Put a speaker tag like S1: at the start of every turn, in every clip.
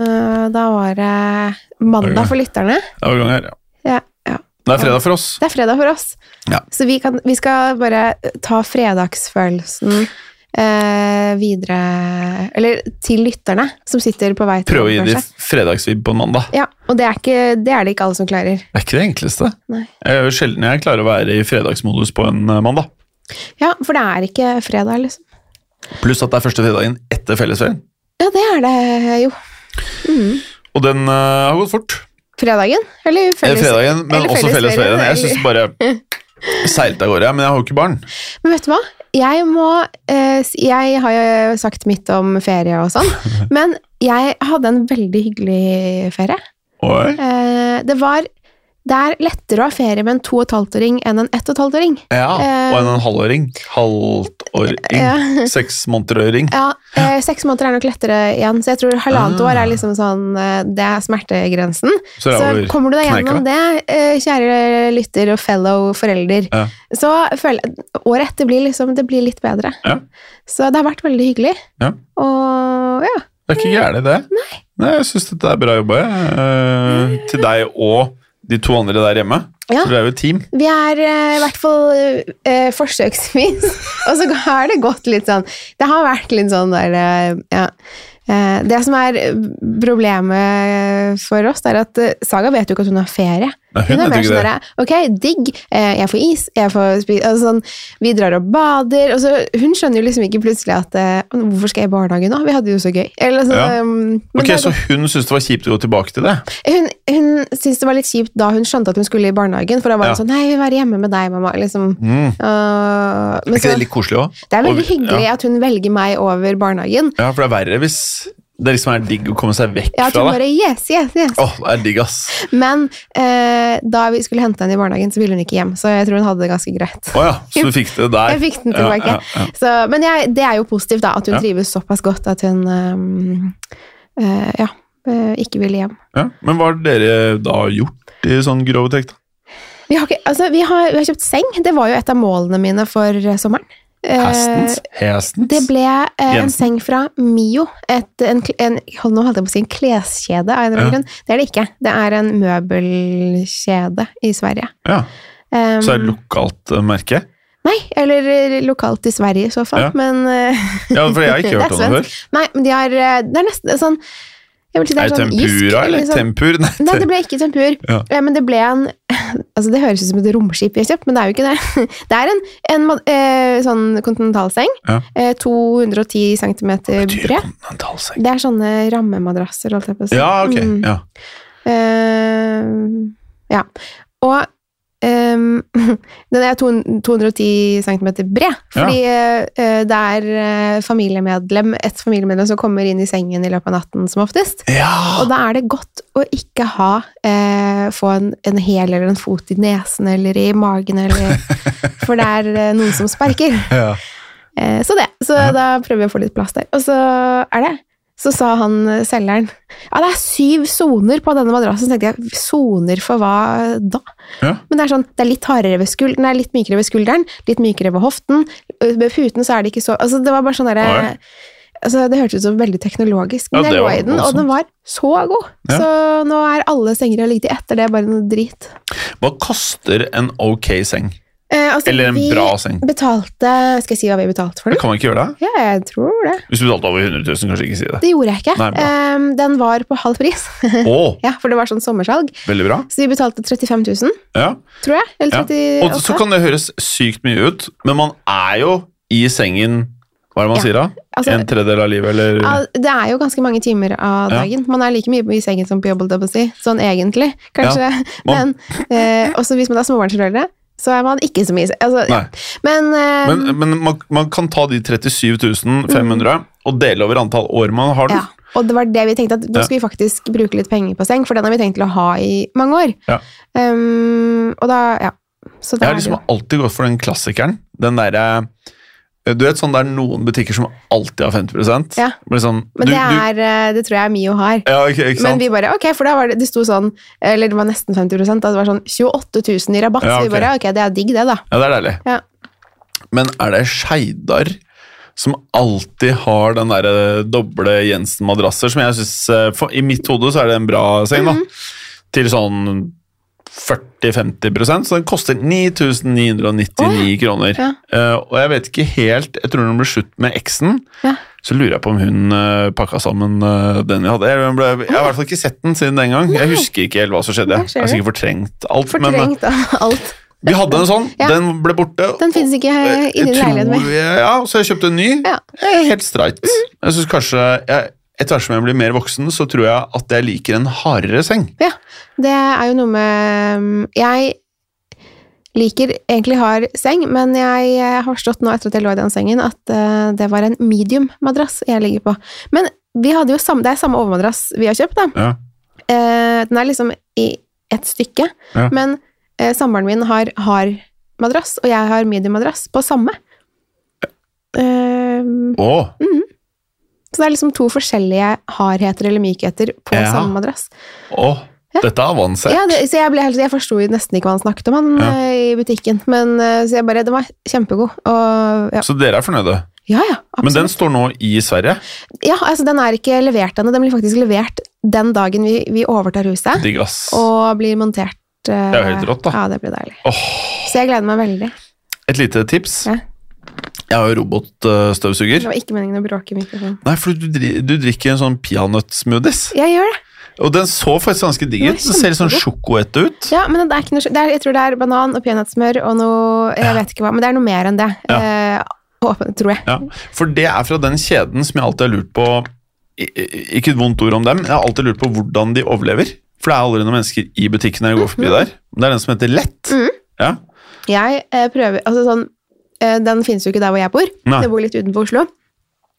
S1: Eh, da var det mandag for lytterne.
S2: Det var gang her, ja.
S1: Ja, ja.
S2: Det er fredag for oss.
S1: Det er fredag for oss.
S2: Ja.
S1: Så vi, kan, vi skal bare ta fredagsfølelsen eh, videre Eller til lytterne som sitter på vei til
S2: Prøve å gi
S1: jobb,
S2: de
S1: kanskje.
S2: fredagsvibb på mandag.
S1: Ja, og det er, ikke, det er det ikke alle som klarer.
S2: Det er ikke det enkleste.
S1: Nei.
S2: Jeg er jo sjelden jeg klarer å være i fredagsmodus på en eh, mandag.
S1: Ja, for det er ikke fredag, liksom.
S2: Pluss at det er første fredagen etter fellesferien.
S1: Ja, det er det jo. Mm.
S2: Og den eh, har gått fort.
S1: Fredagen? Eller
S2: Eh,
S1: felles...
S2: Fredagen, men
S1: eller
S2: også
S1: fellesferien,
S2: fellesferien. Jeg syns bare seilte av gårde. jeg, Men jeg har jo ikke barn.
S1: Men vet du hva? Jeg må eh, si- Jeg har jo sagt mitt om ferie og sånn, men jeg hadde en veldig hyggelig ferie.
S2: Oi.
S1: Eh, det var Det er lettere å ha ferie med en to og et halvt-åring enn en ett og et halvt-åring.
S2: Ja,
S1: Eh,
S2: og en, en halvåring. Halvtåring.
S1: Ja.
S2: Seks månederøring.
S1: Ja, eh, seks måneder er nok lettere igjen, så jeg tror halvannet
S2: Ah.
S1: år er liksom sånn eh, Det er smertegrensen. Så
S2: Så det er over.
S1: kommer du deg
S2: kneika.
S1: gjennom det, eh, kjære lytter og fellow forelder,
S2: Ja.
S1: så føler jeg Året etter blir liksom Det blir litt bedre.
S2: Ja.
S1: Så det har vært veldig hyggelig.
S2: Ja.
S1: Og ja.
S2: Det er ikke gærent, det. Nei. jeg syns dette er bra jobba. jeg. Eh, til deg og de to andre der hjemme.
S1: Ja.
S2: For dere er jo et team.
S1: Vi er eh, i hvert fall eh, forsøksvis, og så har det gått litt sånn Det har vært litt sånn der eh, Ja. Eh, det som er eh, problemet for oss, det er at eh, Saga vet jo ikke at hun har ferie.
S2: Nei, hun
S1: Hun er
S2: vet
S1: mer
S2: ikke
S1: sånn
S2: det.
S1: der, Ok, digg. eh, jeg får is, jeg får spise altså sånn, Vi drar og bader. Og så, hun skjønner jo liksom ikke plutselig at eh, Hvorfor skal jeg i barnehagen nå? Vi hadde det jo så gøy. Eller sånn,
S2: Ja.
S1: eh, men
S2: Ok,
S1: det er
S2: Så hun syns det var kjipt å gå tilbake til det?
S1: hun, hun syntes det var litt kjipt da hun skjønte at hun skulle i barnehagen, for da var hun
S2: Ja.
S1: sånn Nei, jeg vil være hjemme med deg, mamma. Liksom. Øh,
S2: Mm.
S1: men
S2: Er ikke
S1: så,
S2: det litt koselig òg?
S1: det er veldig hyggelig at hun velger meg over barnehagen.
S2: Ja, for det er verre hvis det liksom er digg å komme seg vekk
S1: Ja, at hun
S2: fra det.
S1: bare yes, yes, yes.
S2: Åh, det er digg, ass.
S1: Men eh, da vi skulle hente henne i barnehagen, så ville hun ikke hjem. Så jeg tror hun hadde det ganske greit.
S2: Å ja, så du fikk det der.
S1: Jeg fikk den tilbake.
S2: Ja, ja, ja.
S1: Så, men jeg, det er jo positivt, da. At hun
S2: Ja.
S1: trives såpass godt at hun ehm, eh, ja, eh, ikke ville hjem.
S2: Ja. Men hva har dere da gjort i sånn grov trekk? da?
S1: Vi har, ikke, altså, vi, har, vi har kjøpt seng. Det var jo et av målene mine for eh, sommeren. Eh,
S2: Hestens? Hestens?
S1: Det ble eh, en seng
S2: Jensen.
S1: fra Mio. Et, en, kl- en, hold, nå holdt jeg på å si en kleskjede. Av en eller annen
S2: Ja.
S1: grunn. Det er det ikke. Det er en møbelkjede i Sverige.
S2: Ja,
S1: Um,
S2: Så er det lokalt eh, merke?
S1: nei, eller eh, lokalt i Sverige i så fall.
S2: Ja.
S1: Men eh,
S2: Ja, for jeg har
S1: Det
S2: ikke
S1: er
S2: hørt om det før.
S1: nei, men de har eh, Det er nesten sånn jeg vil si det
S2: Er det
S1: sånn jysk,
S2: tempura, eller?
S1: sånn-
S2: Tempur? Nei,
S1: Nei,
S2: te-
S1: det ble ikke tempur.
S2: Ja.
S1: Eh, Men det ble en Altså, det høres ut som et romskip vi har kjøpt, men det er jo ikke det. Det er en, en ma- eh, sånn kontinentalseng.
S2: Ja.
S1: Eh, 210 cm bred.
S2: Dyr kontinentalseng.
S1: Det er sånne rammemadrasser, holdt jeg på å si.
S2: Ja, ok.
S1: Mm.
S2: Ja.
S1: Eh, ja. Og ehm, den er 210 cm bred, fordi eh, det er eh, familiemedlem, et familiemedlem som kommer inn i sengen i løpet av natten som oftest.
S2: ja.
S1: Og da er det godt å ikke ha eh, få en, en hæl eller en fot i nesen eller i magen, eller, for det er eh, noen som sparker.
S2: ja.
S1: Eh, så det. Så
S2: Ja.
S1: da prøver vi å få litt plass der. Og så er det. Så sa han eh, selgeren ja, det er syv soner på denne madrassen. Så tenkte jeg, soner for hva da?
S2: Ja.
S1: Men det er sånn, det er litt hardere ved skulderen, nei, litt mykere ved skulderen, litt mykere ved hoften. Ø, Ved puten så er det ikke så Altså, det var bare sånn derre
S2: Oi.
S1: altså, Det hørtes ut som veldig teknologisk,
S2: Ja,
S1: men
S2: det
S1: jeg lå
S2: var
S1: i den, og den var så god.
S2: Ja.
S1: Så nå er alle senger jeg ligger til etter det, bare noe drit.
S2: Hva koster en ok seng?
S1: Eh, altså,
S2: Eller en
S1: vi
S2: bra seng?
S1: betalte Skal jeg si hva vi betalte for
S2: Det
S1: den?
S2: kan man ikke gjøre det?
S1: Ja, jeg tror det.
S2: Hvis du betalte over 100 000, kanskje ikke si det.
S1: Det gjorde jeg ikke.
S2: Nei, bra.
S1: Ehm, den var på halv pris,
S2: Å,
S1: ja, for det var sånn sommersalg.
S2: veldig bra.
S1: Så vi betalte 35 000,
S2: Ja.
S1: tror jeg. Eller
S2: Ja.
S1: 38
S2: Og så kan det høres sykt mye ut, men man er jo i sengen Hva er det man
S1: Ja,
S2: sier da?
S1: altså-
S2: en tredjedel av livet, eller
S1: Ja, Det er jo ganske mange timer av
S2: Ja.
S1: dagen. Man er like mye i sengen som på jobb, holdt jeg på å si. sånn egentlig, kanskje.
S2: man-
S1: Men eh, også hvis man er småbarnsforeldre, så er man ikke så mye i sengen. Altså,
S2: Nei.
S1: men, eh,
S2: Men, men man, man kan ta de 37 500 og dele over antall år man har den.
S1: Mm. ja. Og det var det vi tenkte, at nå
S2: Ja.
S1: skal vi faktisk bruke litt penger på seng, for den har vi tenkt til å ha i mange år.
S2: Ja.
S1: Ehm, og da, ja. Så
S2: Jeg
S1: da
S2: har
S1: er det jo-
S2: liksom alltid gått for den klassikeren. Den derre Du vet sånn det er noen butikker som alltid har 50
S1: Ja.
S2: Men, sånn,
S1: Men det,
S2: du, du,
S1: er, eh, det tror jeg Mio har.
S2: ja, ok, ikke
S1: Men
S2: sant?
S1: vi bare, ok, for da var det, det sto sånn, eller det var nesten 50 da, det var sånn 28 000 i rabatt,
S2: Ja,
S1: så vi
S2: ok.
S1: bare, ok, det er digg det da.
S2: Ja, det er deilig.
S1: Ja.
S2: Men er det Skeidar som alltid har den der eh, doble Jensen-madrasser, som jeg syns I mitt hode så er det en bra seng, da.
S1: Mhm.
S2: Til sånn 40-50 så den koster 9999 kroner.
S1: ja.
S2: Eh, og jeg vet ikke helt Jeg tror når den ble slutt med eksen,
S1: Ja.
S2: så lurer jeg på om hun eh, pakka sammen eh, den vi hadde. Eller hun ble, jeg har i hvert fall ikke sett den siden den gang. Jeg husker ikke helt hva som skjedde.
S1: Der ser
S2: Jeg har
S1: du.
S2: sikkert fortrengt alt. Men eh,
S1: Fortrengt av alt.
S2: vi hadde en sånn,
S1: Ja.
S2: den ble borte.
S1: Den finnes ikke eh,
S2: Jeg
S1: inni
S2: tror
S1: leiligheten min.
S2: jeg- Ja, så jeg kjøpte en ny.
S1: Ja. Mm.
S2: Jeg er helt streit. Jeg synes kanskje, jeg, Etter hvert som jeg blir mer voksen, så tror jeg at jeg liker en hardere seng.
S1: Ja, det er jo noe med um, Jeg liker egentlig hard seng, men jeg eh, har forstått nå etter at jeg lå i den sengen, at eh, det var en medium-madrass jeg ligger på. Men vi hadde jo samme, det er samme overmadrass vi har kjøpt, da.
S2: Ja.
S1: Eh, den er liksom i ett stykke,
S2: Ja.
S1: men eh, samboeren min har hard madrass, og jeg har medium madrass på samme. Eh,
S2: Å,
S1: så det er liksom to forskjellige hardheter eller mykheter på
S2: Ja.
S1: samme madrass.
S2: å,
S1: Ja.
S2: dette er avansert.
S1: Ja, det, så jeg, ble helt, jeg forsto jo nesten ikke hva han snakket om han
S2: Ja.
S1: eh, i butikken, men eh, så jeg bare, den var kjempegod. Og, ja.
S2: Så dere er fornøyde.
S1: ja, ja,
S2: Men den
S1: absolutt.
S2: står nå i Sverige.
S1: ja, altså, den er ikke levert ennå, den blir faktisk levert den dagen vi, vi overtar huset,
S2: Digg, ass.
S1: og blir montert. Det
S2: er jo helt rått, da.
S1: Ja, det blir deilig.
S2: Åh,
S1: Så jeg gleder meg veldig.
S2: et lite tips.
S1: Ja.
S2: Jeg har jo robotstøvsuger.
S1: Det var ikke meningen å bråke i mikrofonen.
S2: Nei, for du, dri- du drikker en sånn peanøttsmoothies.
S1: Jeg gjør det.
S2: Og den så faktisk ganske digg
S1: Den
S2: ut.
S1: var
S2: Den ser litt sånn sjokoete ut.
S1: Ja, men det er ikke noe, det er, jeg tror det er banan og peanøttsmør og noe Jeg vet ikke hva, men det er noe mer enn det.
S2: Ja.
S1: Eh, åpen, tror jeg.
S2: Ja, for det er fra den kjeden som jeg alltid har lurt på i- i- Ikke et vondt ord om dem, men jeg har alltid lurt på hvordan de overlever. For det er aldri noen mennesker i butikken når jeg går
S1: Mhm.
S2: forbi der. Det er den som heter Lett. Ja.
S1: Jeg eh, prøver Altså sånn eh, Den finnes jo ikke der hvor jeg bor.
S2: Nei.
S1: Jeg bor litt utenfor Oslo.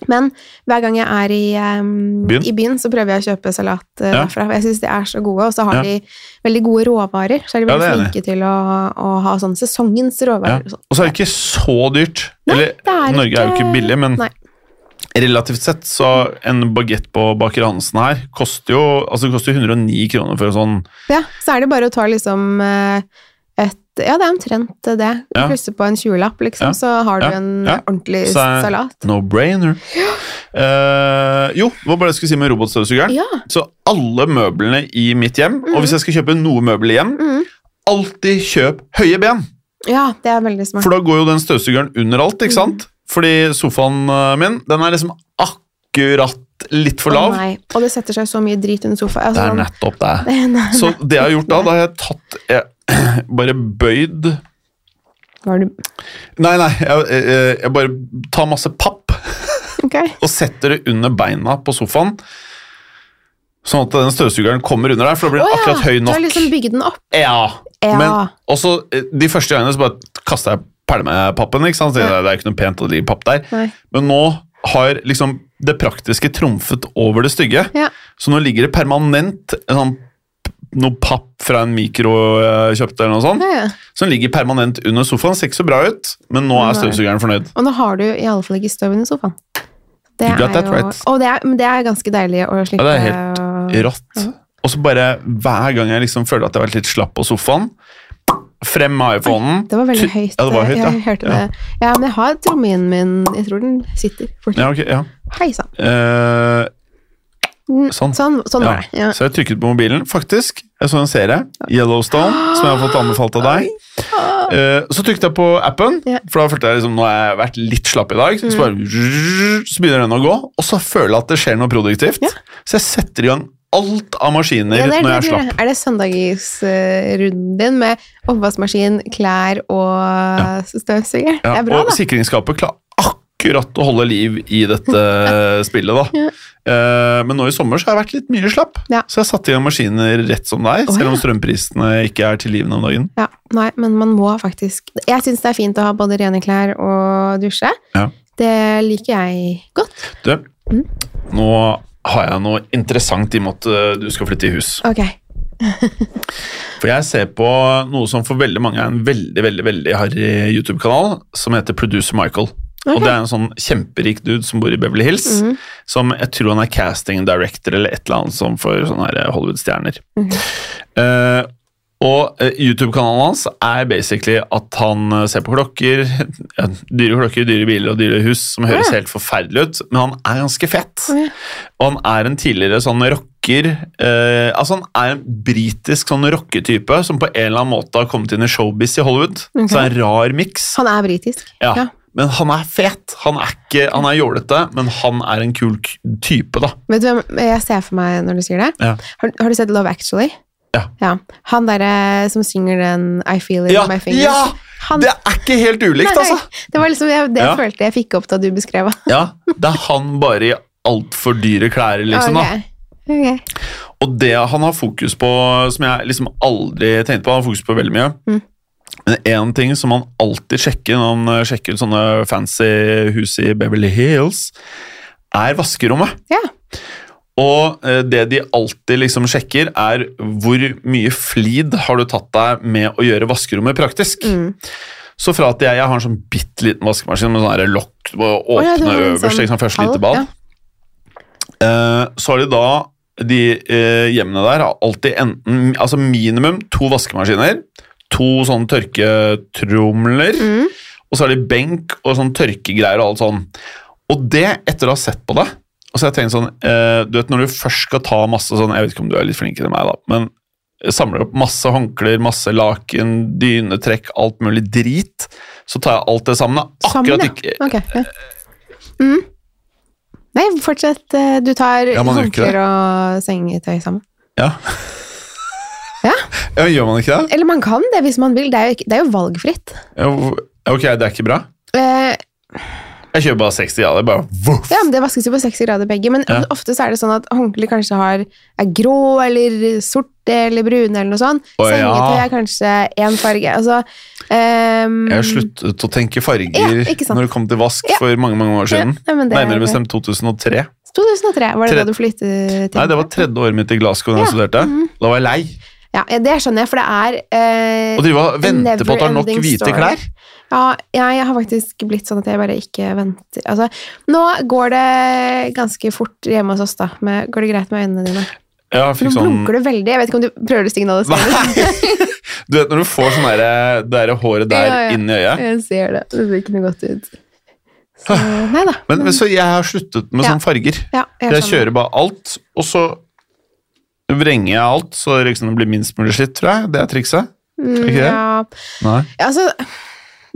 S1: Men hver gang jeg er i, eh,
S2: Byen?
S1: i byen, så prøver jeg å kjøpe salat eh,
S2: Ja.
S1: derfra. for Jeg syns de er så gode, og så har
S2: Ja.
S1: de veldig gode råvarer. Så er de
S2: Ja,
S1: veldig
S2: det er
S1: flinke til å, å ha sånn sesongens
S2: ja.
S1: råvarer. og sånn.
S2: Og så er det ikke så dyrt. Eller,
S1: det er
S2: Norge er jo
S1: ikke-
S2: ikke billig, men
S1: Nei.
S2: relativt sett så en bagett på Baker Hansen her koster jo altså det koster jo 109 kroner for en sånn
S1: Ja, så er det bare å ta liksom eh, et Ja, det er omtrent det.
S2: Ja.
S1: Plusse på en 20-lapp, liksom,
S2: Ja.
S1: så har du
S2: Ja.
S1: en
S2: Ja.
S1: ordentlig
S2: Så er-
S1: salat.
S2: no-brainer. Eh, jo, hva var det jeg skulle si med robotstøvsugeren?
S1: Ja.
S2: Så alle møblene i mitt hjem, og hvis jeg skal kjøpe noe møbel hjem,
S1: Mhm.
S2: alltid kjøp høye ben.
S1: ja, det er veldig smart.
S2: For da går jo den støvsugeren under alt, ikke sant? Fordi sofaen eh, min, den er liksom akkurat litt for
S1: Å,
S2: lav.
S1: nei. Og det setter seg så mye drit under sofaen.
S2: det er
S1: Altså,
S2: nettopp det.
S1: sånn- Nei,
S2: Så det jeg har gjort da, da har jeg tatt jeg, Bare bøyd
S1: var du
S2: Nei, nei, jeg, jeg, jeg bare tar masse papp
S1: Ok.
S2: og setter det under beina på sofaen. Sånn at den støvsugeren kommer under der, for da blir
S1: Å
S2: den
S1: ja,
S2: akkurat høy
S1: Du har
S2: nok.
S1: liksom bygd den opp.
S2: Ja.
S1: Ja.
S2: Men også eh, de første gangene så bare kasta jeg pælmepappen. ikke sant? Så Det er jo ikke noe pent å ligge papp der.
S1: Nei.
S2: Men nå har liksom det praktiske trumfet over det stygge.
S1: Ja.
S2: Så nå ligger det permanent en sånn, p- noe papp fra en mikro jeg kjøpte, eller noe sånt,
S1: Ja, ja.
S2: som ligger permanent under sofaen. Ser ikke så bra ut, men nå er
S1: Nei.
S2: støvsugeren fornøyd.
S1: Og nå har du i alle fall ikke støv under sofaen. Det
S2: You got
S1: er
S2: that
S1: jo,
S2: right.
S1: Og det er, men det er ganske deilig å slippe
S2: det er helt
S1: å-
S2: Rått. Og så bare hver gang jeg liksom føler at jeg har vært litt slapp på sofaen, frem med iPhonen.
S1: Det var veldig høyt. eh,
S2: Ja, det var høyt, ja.
S1: Jeg hørte
S2: Ja.
S1: det. Ja, men jeg har trommehinen min. Jeg tror den sitter fortsatt.
S2: Ja, ok, ja.
S1: Hei sann.
S2: Eh,
S1: Mm,
S2: Sånn.
S1: Sånn, sånn
S2: Ja.
S1: var det. Ja.
S2: Så jeg trykket på mobilen. Faktisk, jeg så en serie, Yellowstone, som jeg har fått anbefalt av deg. Eh, Så trykket jeg på appen,
S1: Ja. Mm.
S2: for da følte jeg liksom, nå har jeg vært litt slapp i dag. Så, bare, så begynner den å gå, og så føler jeg at det skjer noe produktivt.
S1: Ja.
S2: Så jeg setter i gang alt av maskiner
S1: Ja, det er,
S2: når
S1: det
S2: jeg er
S1: du gjør.
S2: slapp.
S1: er det søndagsrunden din med oppvaskmaskin, klær og støvsuger?
S2: Ja,
S1: Det er bra,
S2: og
S1: da.
S2: sikringsskapet klarer akkurat å holde liv i dette spillet, da.
S1: Ja.
S2: Eh, men nå i sommer så har jeg vært litt mye slapp,
S1: Ja.
S2: så jeg satte i gang maskiner rett som det er,
S1: Å,
S2: selv om
S1: ja.
S2: strømprisene ikke er til livende om dagen.
S1: Ja, nei, men man må faktisk Jeg syns det er fint å ha både rene klær og dusje.
S2: Ja.
S1: Det liker jeg godt.
S2: Du,
S1: Mm.
S2: nå har jeg noe interessant i og med at eh, du skal flytte i hus.
S1: Ok.
S2: For jeg ser på noe som for veldig mange er en veldig veldig, veldig harry YouTube-kanal, som heter Producer Michael. Og
S1: Ok.
S2: Det er en sånn kjemperik dude som bor i Beverly Hills, som jeg tror han er casting director eller et eller annet sånn for sånne her Hollywood-stjerner. Eh, Og eh, YouTube-kanalen hans er basically at han eh, ser på klokker. ja, Dyre klokker, dyre biler og dyre hus, som høres
S1: Ja.
S2: helt forferdelig ut, men han er ganske fett.
S1: Ja.
S2: Og han er en tidligere sånn rocker eh, Altså, han er en britisk sånn rocketype som på en eller annen måte har kommet inn i showbiz i Hollywood.
S1: Ok.
S2: Så det er en rar miks.
S1: Han er britisk.
S2: Ja.
S1: Ja.
S2: Men han er fet. Han er ikke, han er jålete, men han er en kul k- type, da.
S1: Vet du hvem jeg ser for meg når du sier det?
S2: Ja.
S1: Har, har du sett Love Actually?
S2: Ja.
S1: Han derre som synger den I feel it
S2: Ja,
S1: in my fingers.
S2: ja!
S1: Han,
S2: Det er ikke helt ulikt,
S1: Nei,
S2: altså.
S1: Det var liksom jeg- det
S2: Ja.
S1: følte jeg fikk opp da du beskrev han.
S2: Ja, Det er han bare i altfor dyre klær, liksom. da.
S1: Ok. Ok.
S2: Og det han har fokus på, som jeg liksom aldri tenkte på, han har fokus på veldig mye.
S1: Mm.
S2: Men én ting som han alltid sjekker når han eh, sjekker ut sånne fancy hus i Beverly Hills, er vaskerommet.
S1: Ja.
S2: Og eh, det de alltid liksom sjekker, er hvor mye flid har du tatt deg med å gjøre vaskerommet praktisk.
S1: Mm.
S2: Så fra at jeg, jeg har en sånn bitte liten vaskemaskin med sånn her lokk og
S1: Å ja,
S2: åpne
S1: du har en
S2: øverst,
S1: sånn
S2: liksom først
S1: halv,
S2: lite bad.
S1: ja.
S2: Eh, så har de da de eh, hjemmene der har alltid enten altså minimum to vaskemaskiner, to sånne tørketromler,
S1: Mm.
S2: og så har de benk og sånn tørkegreier og alt sånn. Og det, etter å ha sett på det og så har jeg tenkt sånn, eh, du vet Når du først skal ta masse sånn Jeg vet ikke om du er litt flinkere enn meg, da, men samler opp masse håndklær, masse laken, dynetrekk, alt mulig drit. Så tar jeg alt det sammen. da.
S1: Sammen,
S2: Akkurat
S1: ja.
S2: ikke
S1: Ok. Ja. Mm. Nei, fortsett. eh, Du tar
S2: Ja, man gjør ikke det.
S1: håndklær og sengetøy sammen.
S2: Ja.
S1: Ja.
S2: ja, gjør man ikke det?
S1: Eller man kan det hvis man vil. Det er jo, ikke, det er jo valgfritt.
S2: Ja, hvor- Ok, det er ikke bra.
S1: Eh,
S2: Jeg kjører bare 60 grader. Bare voff.
S1: Ja, men Det vaskes jo på 60 grader begge, men
S2: Ja.
S1: ofte så er det sånn at håndklær kanskje har, er grå eller sorte eller brune eller noe sånt.
S2: Å, ja.
S1: Sengetøy er kanskje én farge. Altså ehm,
S2: Jeg sluttet å tenke farger
S1: Ja, ikke sant.
S2: når det kom til vask
S1: Ja.
S2: for mange mange år siden.
S1: Ja, nei, men det er-
S2: Nærmere bestemt 2003.
S1: 2003, var det da
S2: Tre-
S1: du flyttet til?
S2: Nei, Det var tredje året mitt i Glasgow da
S1: Ja,
S2: jeg
S1: Mm.
S2: studerte. Da var jeg lei.
S1: Ja, ja, Det skjønner jeg, for det er eh,
S2: Og drive og
S1: a
S2: vente på at det er nok
S1: never-ending
S2: hvite
S1: story.
S2: klær.
S1: Ja, jeg har faktisk blitt sånn at jeg bare ikke venter Altså, nå går det ganske fort hjemme hos oss, da. Med, går det greit med øynene dine?
S2: Ja, jeg
S1: Nå
S2: fikk sånn
S1: blunker du veldig. Jeg vet ikke om du prøver å signalisere det.
S2: Nei! Du vet når du får sånn derre- det derre håret der
S1: Ja, ja.
S2: inn i øyet?
S1: Jeg ser det. Det ser ikke noe godt ut. Så, nei da.
S2: Men, men så jeg har sluttet
S1: Mm.
S2: med
S1: Ja.
S2: sånne farger.
S1: ja,
S2: Jeg
S1: skjønner.
S2: kjører bare alt, og så vrenger jeg alt, så liksom det blir minst mulig slitt, tror jeg. Det er trikset.
S1: Mm,
S2: ikke det?
S1: ja.
S2: Nei.
S1: Ja, altså,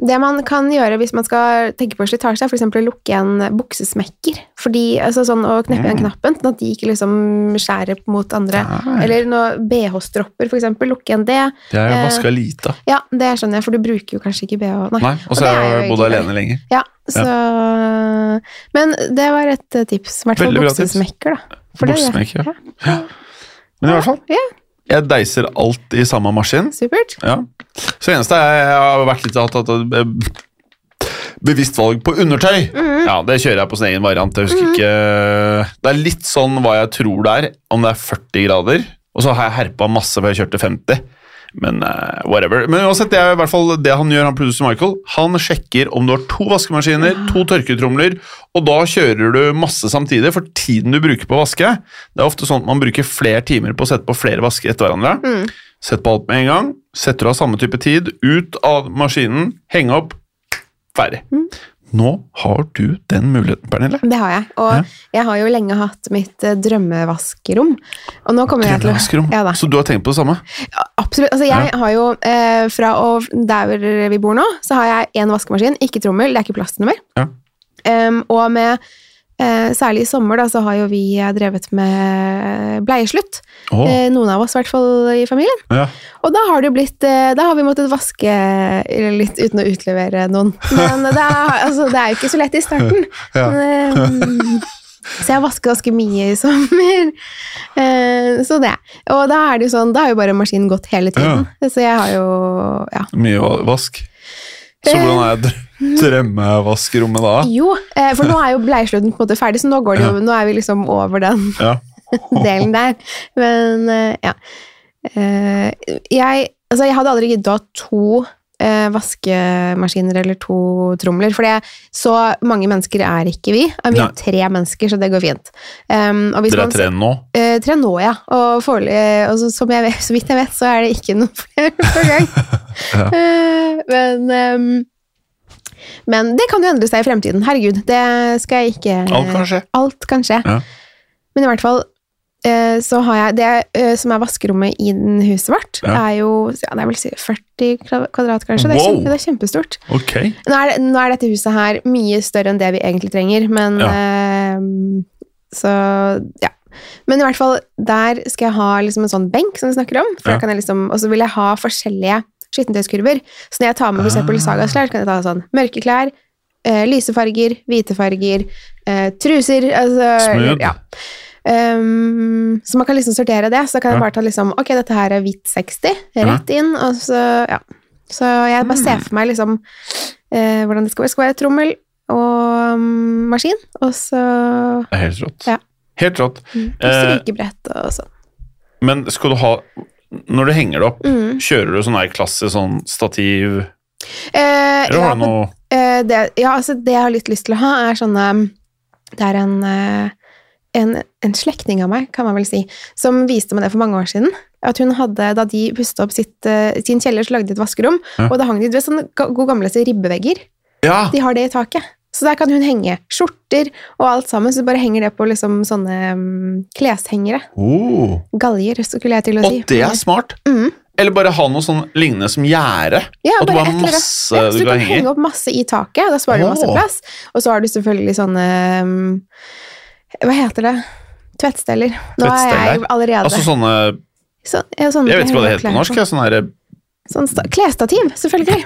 S1: det man kan gjøre hvis man skal tenke på slitasje, er f.eks. å lukke igjen buksesmekker. Fordi, altså sånn, og kneppe
S2: Mm.
S1: igjen knappen, sånn at de ikke liksom skjærer mot andre.
S2: Nei.
S1: Eller noe BH-stropper, f.eks. Lukke igjen det.
S2: Det har jeg
S1: Eh.
S2: vaska lite.
S1: Ja, det skjønner jeg, for du bruker jo kanskje ikke BH. Nei.
S2: Nei, Og så
S1: det
S2: har
S1: er
S2: jeg
S1: jo
S2: bodd
S1: egentlig-
S2: alene lenger.
S1: Ja, så Men det var et eh, tips. I hvert fall
S2: Veldig bra tips.
S1: buksesmekker, da. For det-
S2: Buksesmekker, ja.
S1: Ja.
S2: ja. Men i hvert fall,
S1: Ja,
S2: jeg deiser alt i samme maskin.
S1: supert.
S2: Ja. Så det eneste er jeg har vært litt hatt, hatt, hatt eh, bevisst valg på undertøy. Ja, det kjører jeg på sin egen variant. Jeg husker ikke Det er litt sånn hva jeg tror det er, om det er 40 grader. Og så har jeg herpa masse før jeg kjørte 50. Men eh, whatever. Men uansett, det er i hvert fall det han gjør, han producer Michael. Han sjekker om du har to vaskemaskiner, to tørketromler, og da kjører du masse samtidig, for tiden du bruker på å vaske Det er ofte sånn at man bruker flere timer på å sette på flere vasker etter hverandre. Sett på alt med en gang. Setter av samme type tid. Ut av maskinen. Henge opp. Ferdig.
S1: Mm.
S2: Nå har du den muligheten, Pernille.
S1: Det har jeg. Og jeg har jo lenge hatt mitt eh, drømmevaskerom. Og nå kommer jeg til å
S2: Drømmevaskerom.
S1: ja, da.
S2: Så du har tenkt på det samme?
S1: Absolutt. Altså, jeg har jo eh, fra og der hvor vi bor nå, så har jeg én vaskemaskin, ikke trommel, det er ikke plass til noe mer.
S2: Ja.
S1: Em, og med eh, Særlig i sommer da, så har jo vi eh, drevet med bleieslutt.
S2: Åh,
S1: Eh, noen av oss i hvert fall i familien.
S2: ja.
S1: Og da har, det jo blitt, eh, da har vi måttet vaske litt uten å utlevere noen. Men det er, altså, det er jo ikke så lett i starten.
S2: Ja.
S1: Men, eh, Så jeg vasker ganske mye i sommer. Eh, Så det. Og da er det jo sånn, da har jo bare maskinen gått hele tiden. Så jeg har jo ja.
S2: Mye va- vask. Så
S1: Eh.
S2: hvordan er drø- drømmevaskerommet da?
S1: Jo, eh, for nå er jo bleiesløyden på en måte ferdig, så nå, går det jo, nå er vi liksom over den
S2: Ja.
S1: delen der. Men eh, ja. Eh, Jeg, altså, jeg hadde aldri giddet å ha to eh, vaskemaskiner eller to tromler. For det- så mange mennesker er ikke vi. Det er vi
S2: Nei.
S1: tre mennesker, så det går fint. Um, og hvis
S2: Dere
S1: man-
S2: er tre nå?
S1: Eh, tre nå, ja. Og, forel- eh, og så, som jeg vet, så vidt jeg vet, så er det ikke noen flere på gang. Eh, men, ehm, men det kan jo endre seg i fremtiden. Herregud, det skal jeg ikke
S2: Alt kan skje.
S1: Alt kan skje.
S2: Ja.
S1: Men i hvert fall eh, så har jeg Det eh, som er vaskerommet i den huset vårt,
S2: Ja.
S1: er jo ja, det er vel si 40 kva- kvadrat, kanskje. Det, er
S2: Wow.
S1: kjempe, det er kjempestort.
S2: Ok.
S1: Nå er, det- nå er dette huset her mye større enn det vi egentlig trenger, men
S2: Ja.
S1: eh, Så ja. Men i hvert fall, der skal jeg ha liksom en sånn benk som du snakker om. For
S2: Ja.
S1: da kan jeg liksom, og så vil jeg ha forskjellige skittentøyskurver. Så når jeg tar med for eksempel
S2: Ah.
S1: sagaslær, så kan jeg ta sånn mørke klær, eh, lyse farger, hvite farger, eh, truser altså,
S2: Smooth.
S1: Ja. Um, så man kan liksom sortere det. Så da kan jeg
S2: Ja.
S1: bare ta liksom Ok, dette her er hvitt 60, rett inn, og så Ja. Så jeg bare
S2: Mm.
S1: ser for meg liksom eh, hvordan det skal være. Det skal være trommel og mm, maskin, og så
S2: Det er helt rått.
S1: Ja.
S2: Helt rått.
S1: mm, og
S2: Eh,
S1: strykebrett og sånn.
S2: Men skal du ha Når du henger det opp,
S1: Mm.
S2: kjører du sånn her klasse sånn stativ
S1: Eh,
S2: Eller
S1: ja,
S2: har du
S1: men,
S2: noe
S1: eh, det, ja, altså det jeg har litt lyst til å ha, er sånne Det er en eh, en, en slektning av meg, kan man vel si, som viste meg det for mange år siden. At hun hadde, Da de pustet opp sitt, eh, sin kjeller, så lagde de et vaskerom.
S2: Ja.
S1: Og da hang de du vet, sånne ga- gode gamle ribbevegger.
S2: Ja!
S1: De har det i taket. Så der kan hun henge skjorter og alt sammen. Så bare henger det på liksom sånne mm, kleshengere.
S2: Oh.
S1: Galger, skulle jeg til å
S2: Og
S1: si.
S2: det er smart!
S1: Mm.
S2: Eller bare ha noe sånn lignende som gjerde.
S1: Ja,
S2: At du
S1: bare
S2: bare
S1: et
S2: har
S1: eller annet.
S2: masse
S1: Ja, så
S2: du
S1: du
S2: kan
S1: kan
S2: henge i.
S1: henge opp masse i taket, da sparer du masse
S2: Åh.
S1: plass. Og så har du selvfølgelig sånne um, Hva heter det? Tvettsteller. Nå er jeg
S2: Tvettsteller?
S1: jo allerede
S2: Altså sånne
S1: Sånn- ja, sånne
S2: Jeg vet ikke hva
S1: henger
S2: det heter
S1: klær
S2: på norsk. ja, Sånn her
S1: Sånn sta- klesstativ, selvfølgelig.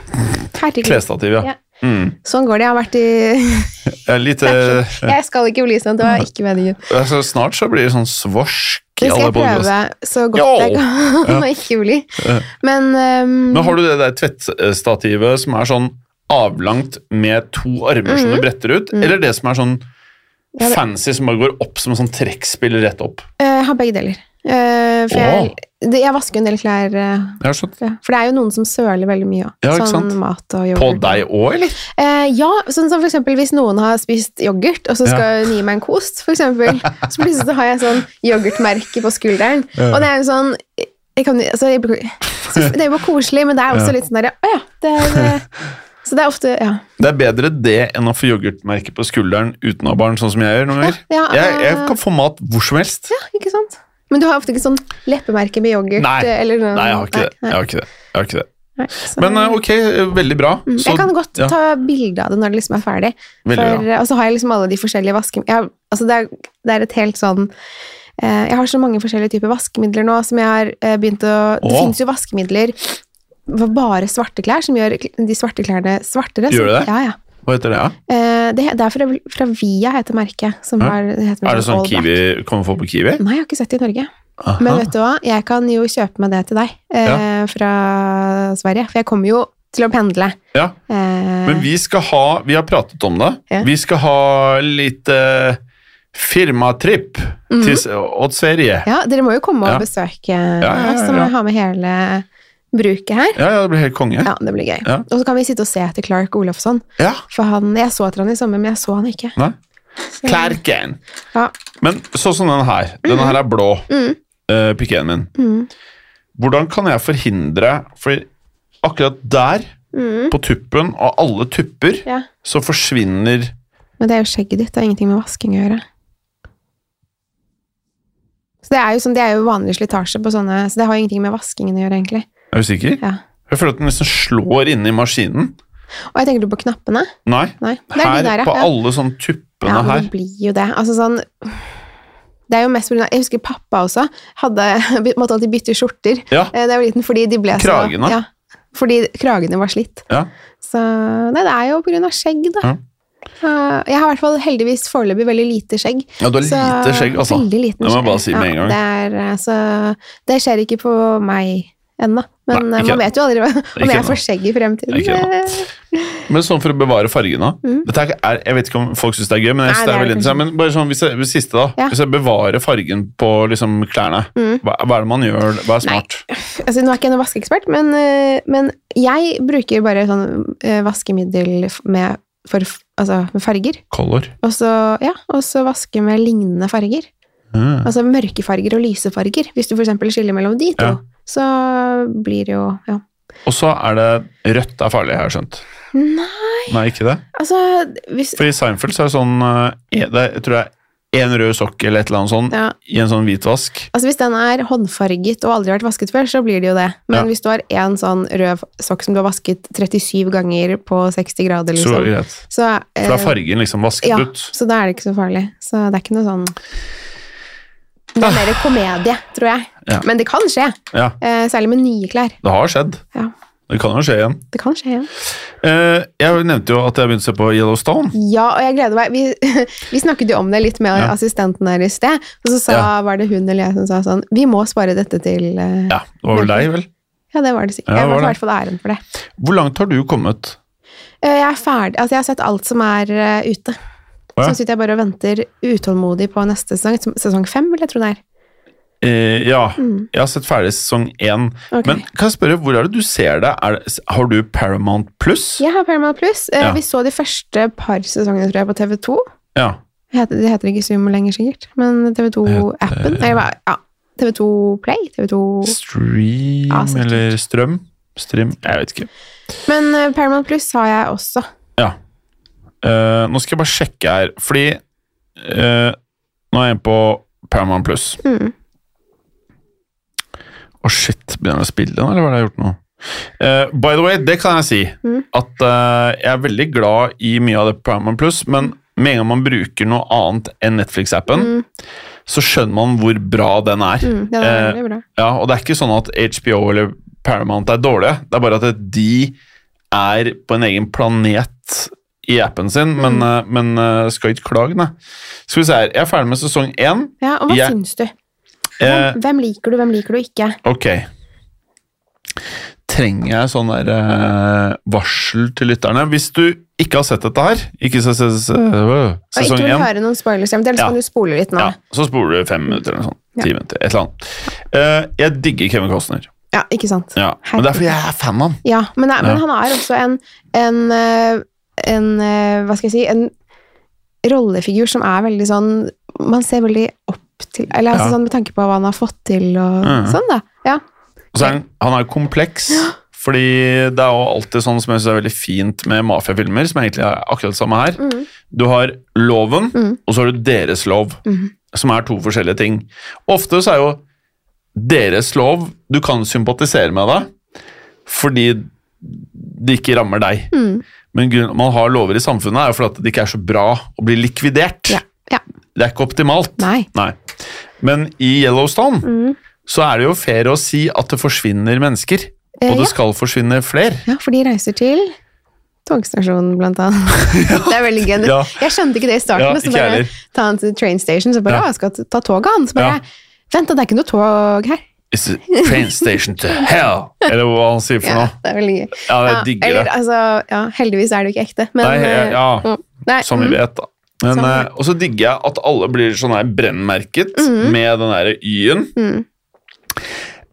S1: Herregud.
S2: klesstativ, ja.
S1: Ja.
S2: Mm.
S1: Sånn går det. Jeg har vært i
S2: Ja, Litt eh,
S1: Jeg skal ikke bli sånn, det var ikke meningen.
S2: altså, Snart så blir det sånn svorsk i
S1: Det skal
S2: alle
S1: jeg
S2: podkastene.
S1: prøve så godt
S2: Jo!
S1: jeg kan å ikke bli.
S2: Ja.
S1: Men um,
S2: Men har du det der tvettstativet som er sånn avlangt med to armer som du bretter ut, eller det som er sånn
S1: Mm. Ja, det-
S2: fancy som bare går opp som en sånn trekkspill rett opp?
S1: eh, jeg har begge deler. Eh, for jeg, det, jeg vasker en del klær eh,
S2: Jeg har skjønt.
S1: Ja, for det er jo noen som søler veldig mye òg.
S2: Ja, ikke
S1: sånn
S2: sant?
S1: mat og yoghurt.
S2: På deg òg, eller?
S1: Eh, ja, sånn som for eksempel hvis noen har spist yoghurt, og så skal hun gi meg en kost, for eksempel, så plutselig så har jeg sånn yoghurtmerke på skulderen.
S2: Ja.
S1: Og det er jo sånn jeg kan, altså, jeg, blir- så Det er jo bare koselig, men det er også
S2: Ja.
S1: litt sånn derre Å ja. Det er, det, så det er ofte Ja.
S2: Det er bedre det enn å få yoghurtmerke på skulderen uten å ha barn, sånn som jeg gjør noen ganger.
S1: ja
S2: Jeg, jeg
S1: eh,
S2: kan få mat hvor som helst.
S1: ja, ikke sant? Men du har ofte ikke sånn leppemerke med yoghurt?
S2: Nei.
S1: eh, eller noe-
S2: Nei, jeg har ikke det.
S1: Nei,
S2: Jeg har ikke det. Jeg har ikke det.
S1: nei, så-
S2: Men eh, ok, eh, veldig bra.
S1: Mm,
S2: Så-
S1: jeg kan godt
S2: ja,
S1: ta bilde av det når det liksom er ferdig.
S2: Veldig
S1: For,
S2: bra.
S1: og så har jeg liksom alle de forskjellige vaske... Jeg, har- altså det, er, det er et helt sånn eh, Jeg har så mange forskjellige typer vaskemidler nå som jeg har eh, begynt å Det
S2: Åh.
S1: finnes jo vaskemidler for bare svarte klær, som gjør kl- de svarte klærne svartere.
S2: Gjør det det?
S1: Så, ja, ja.
S2: Hva heter det? Ja?
S1: Eh, det, det er fra, fra Via, heter merket. Som
S2: Ja.
S1: har, det heter
S2: Er det sånn
S1: All Black.
S2: kiwi kan man få på Kiwi?
S1: Nei, jeg har ikke sett det i Norge.
S2: Aha.
S1: Men vet du hva, jeg kan jo kjøpe meg det til deg eh, fra Sverige. For jeg kommer jo til å pendle.
S2: Ja.
S1: Eh,
S2: Men vi skal ha Vi har pratet om det.
S1: Ja.
S2: Vi skal ha litt eh, firmatripp
S1: Mm-hmm.
S2: til, S- åt Sverige.
S1: Ja, dere må jo komme og
S2: Ja.
S1: besøke
S2: ja,
S1: oss, så må
S2: ja.
S1: vi ha med hele bruket her.
S2: Ja, ja, det blir helt konge.
S1: Ja, det blir gøy.
S2: Ja.
S1: Og så kan vi sitte og se etter Clark Olofsson,
S2: Ja.
S1: for han, jeg så etter han i sommer, men jeg så han ikke.
S2: Nei.
S1: Så-
S2: Klærken.
S1: Ja.
S2: Men sånn som den her. Denne her er blå.
S1: Mm.
S2: Uh, Pikeen min.
S1: Mm.
S2: Hvordan kan jeg forhindre For akkurat der,
S1: Mm.
S2: på tuppen, av alle tupper,
S1: ja.
S2: så forsvinner
S1: Men det er jo skjegget ditt, det har ingenting med vasking å gjøre. Så det er jo, sånn, det er jo vanlig slitasje på sånne, så det har jo ingenting med vaskingen å gjøre, egentlig.
S2: Er du sikker?
S1: Ja.
S2: Jeg føler at den nesten slår inne i maskinen.
S1: Og jeg tenker du på knappene?
S2: Nei.
S1: Nei, det er
S2: Her,
S1: de der,
S2: på
S1: ja.
S2: alle sånne tuppene
S1: ja, men
S2: her.
S1: det blir jo det. Altså sånn Det er jo mest på grunn av Jeg husker pappa også hadde, måtte alltid bytte skjorter
S2: Ja.
S1: eh, da jeg var liten, fordi de ble
S2: Kragene.
S1: så ja, Fordi kragene var slitt.
S2: ja.
S1: Så Nei, det er jo på grunn av skjegg, da.
S2: Ja.
S1: Så, jeg har i hvert fall heldigvis foreløpig veldig lite skjegg.
S2: Ja, du har lite skjegg, altså.
S1: Veldig liten
S2: Det må jeg
S1: skjegg.
S2: bare si med en gang.
S1: Det, er, eh, så det skjer ikke på meg ennå. Men
S2: Nei,
S1: eh,
S2: ikke
S1: man vet jo aldri hva- om jeg
S2: ennå.
S1: får skjegg i fremtiden.
S2: Ikke ennå.
S1: Eh,
S2: Men sånn for å bevare fargene Dette er, Jeg vet ikke om folk syns det er gøy, men
S1: Mm. Nei,
S2: jeg synes
S1: det
S2: det er
S1: er
S2: veldig
S1: det
S2: interessant. Men bare sånn, hvis jeg, hvis siste da
S1: Ja. Mm.
S2: Hvis jeg bevarer fargen på liksom, klærne, hva, hva er det man gjør? Hva er smart?
S1: altså, Nå er ikke jeg noen vaskeekspert, men, eh, men jeg bruker bare sånn eh, vaskemiddel f- med, for, f- altså, med farger.
S2: Color.
S1: Og så ja, og så vaske med lignende farger.
S2: Mm.
S1: Altså mørke farger og lyse farger. Hvis du for eksempel skiller mellom de to,
S2: Ja.
S1: så blir det jo ja.
S2: Og så er det Rødt er farlig, har jeg skjønt.
S1: Nei,
S2: Nei, ikke det?
S1: altså hvis,
S2: For i Seinfeld så er det sånn eh, det er, Jeg tror det er én rød sokk eller et eller annet sånn
S1: ja.
S2: i en sånn hvitvask.
S1: altså hvis den er håndfarget og aldri har vært vasket før, så blir det jo det. Men
S2: Ja.
S1: hvis du har én sånn rød sokk som du har vasket 37 ganger på 60 grader,
S2: Så
S1: liksom,
S2: greit.
S1: så,
S2: For
S1: eh,
S2: da er fargen liksom vasket
S1: ja,
S2: ut.
S1: så da er det ikke så farlig. Så det er ikke noe sånn Det er mer komedie, tror jeg.
S2: Ah. Ja.
S1: Men det kan skje.
S2: Ja,
S1: Eh, særlig med nye klær.
S2: det har skjedd.
S1: Ja.
S2: Det kan jo skje igjen.
S1: Det kan skje igjen.
S2: Eh, jeg nevnte jo at jeg begynte å se på Yellowstone.
S1: Ja, og jeg gleder meg. Vi, vi snakket jo om det litt med
S2: Ja.
S1: assistenten her i sted, og så sa,
S2: Ja.
S1: var det hun eller jeg som sa sånn Vi må spare dette til eh, Ja,
S2: Ja, det var vel deg, vel?
S1: det var det sikkert.
S2: Ja,
S1: jeg
S2: var
S1: var i
S2: det.
S1: hvert fall æren for det.
S2: Hvor langt har du kommet?
S1: Eh, Jeg er ferdig Altså, jeg har sett alt som er eh, ute.
S2: Å, ja.
S1: Så sitter jeg bare og venter utålmodig på neste sesong. som- Sesong fem, vil jeg tro det er.
S2: Eh, ja,
S1: Mm.
S2: jeg har sett ferdig sesong én.
S1: Ok.
S2: Men kan jeg spørre, hvor er det du ser det? Er det har du Paramount Pluss?
S1: Jeg har Paramount Plus. Eh,
S2: Ja.
S1: Vi så de første par sesongene, tror jeg, på TV2.
S2: Ja.
S1: Heter- Det heter ikke Sumo lenger, sikkert, men TV2-appen. Eller hva? Ja. TV2 Play? TV2
S2: Stream
S1: Ja, sikkert.
S2: eller strøm? Stream? Jeg vet ikke.
S1: Men eh, Paramount Plus har jeg også.
S2: Ja. Eh, nå skal jeg bare sjekke her, fordi eh, Nå er jeg inne på Paramount Pluss. Å,
S1: Mm.
S2: shit. Begynner jeg å spille den, eller hva har jeg gjort nå? Eh, by the way, det kan jeg si,
S1: Mm.
S2: at eh, jeg er veldig glad i mye av det på Paramount Pluss, men med en gang man bruker noe annet enn Netflix-appen,
S1: Mm.
S2: så skjønner man hvor bra den er.
S1: Mm, den er
S2: Eh,
S1: veldig bra.
S2: Ja, og det er ikke sånn at HBO eller Paramount er dårlige. Det er bare at de er på en egen planet i appen sin,
S1: Mm.
S2: men, eh, men eh, skal ikke klage, nei. Skal vi se her, jeg er ferdig med sesong én.
S1: Ja, og hva
S2: jeg-
S1: syns du?
S2: Eh,
S1: Hvem, hvem liker du, hvem liker du ikke?
S2: ok. Trenger jeg sånn der eh, varsel til lytterne? Hvis du ikke har sett dette her, ikke se, se, se, øh,
S1: Og ikke
S2: sesong
S1: vil
S2: én
S1: høre noen spoilers, eventuelt, så
S2: Ja.
S1: kan du spole litt nå.
S2: ja,
S1: Ja,
S2: så spoler du fem minutter eller noe sånt. Ti
S1: Ja.
S2: minutter, et eller annet. Eh, jeg digger Kevin Costner.
S1: ikke sant?
S2: Ja. Men det er fordi jeg er fan av han.
S1: Ja, men, nei,
S2: Ja.
S1: men han er også en, en, eh, en eh, Hva skal jeg si En rollefigur som er veldig sånn Man ser veldig opp til Eller altså,
S2: Ja.
S1: sånn med tanke på hva han har fått til og
S2: Mhm.
S1: sånn, da. Ja.
S2: Og så er han, han er jo kompleks, fordi det er jo alltid sånn som jeg synes er veldig fint med mafiafilmer, som egentlig er akkurat det samme her.
S1: Mhm.
S2: Du har loven,
S1: Mhm.
S2: og så har du deres lov,
S1: Mhm.
S2: som er to forskjellige ting. Ofte så er jo deres lov Du kan sympatisere med det, fordi det ikke rammer deg.
S1: Mhm.
S2: Men grunnen til at man har lover i samfunnet, er jo fordi at det ikke er så bra å bli likvidert.
S1: Ja. ja.
S2: Det er ikke optimalt.
S1: Nei.
S2: Nei. Men i Yellowstone så er det jo fair å si at det forsvinner mennesker.
S1: Eh,
S2: Og
S1: ja.
S2: det skal forsvinne flere.
S1: ja, for de reiser til togstasjonen, blant annet. Det er veldig gøy.
S2: Ja.
S1: Jeg skjønte ikke det i starten.
S2: Ja,
S1: og så
S2: ikke
S1: bare
S2: heller.
S1: ta han til train station, så bare
S2: Ja.
S1: «Å, jeg skal ta toget han. Så bare
S2: Ja.
S1: Vent, da, det er ikke noe tog her.
S2: It's a train station to hell! Eller hva han sier for
S1: Ja,
S2: noe.
S1: det er veldig gøy.
S2: Ja, jeg digger
S1: eller,
S2: det.
S1: Altså, ja, heldigvis er det jo ikke ekte, men
S2: Nei,
S1: eh,
S2: ja, ja.
S1: mm, nei,
S2: Som vi
S1: mm,
S2: vet, da. Men,
S1: Som vi
S2: eh, og så digger jeg at alle blir sånn her brennmerket med den derre Y-en.
S1: Mm.
S2: Jeg er
S1: Mhm.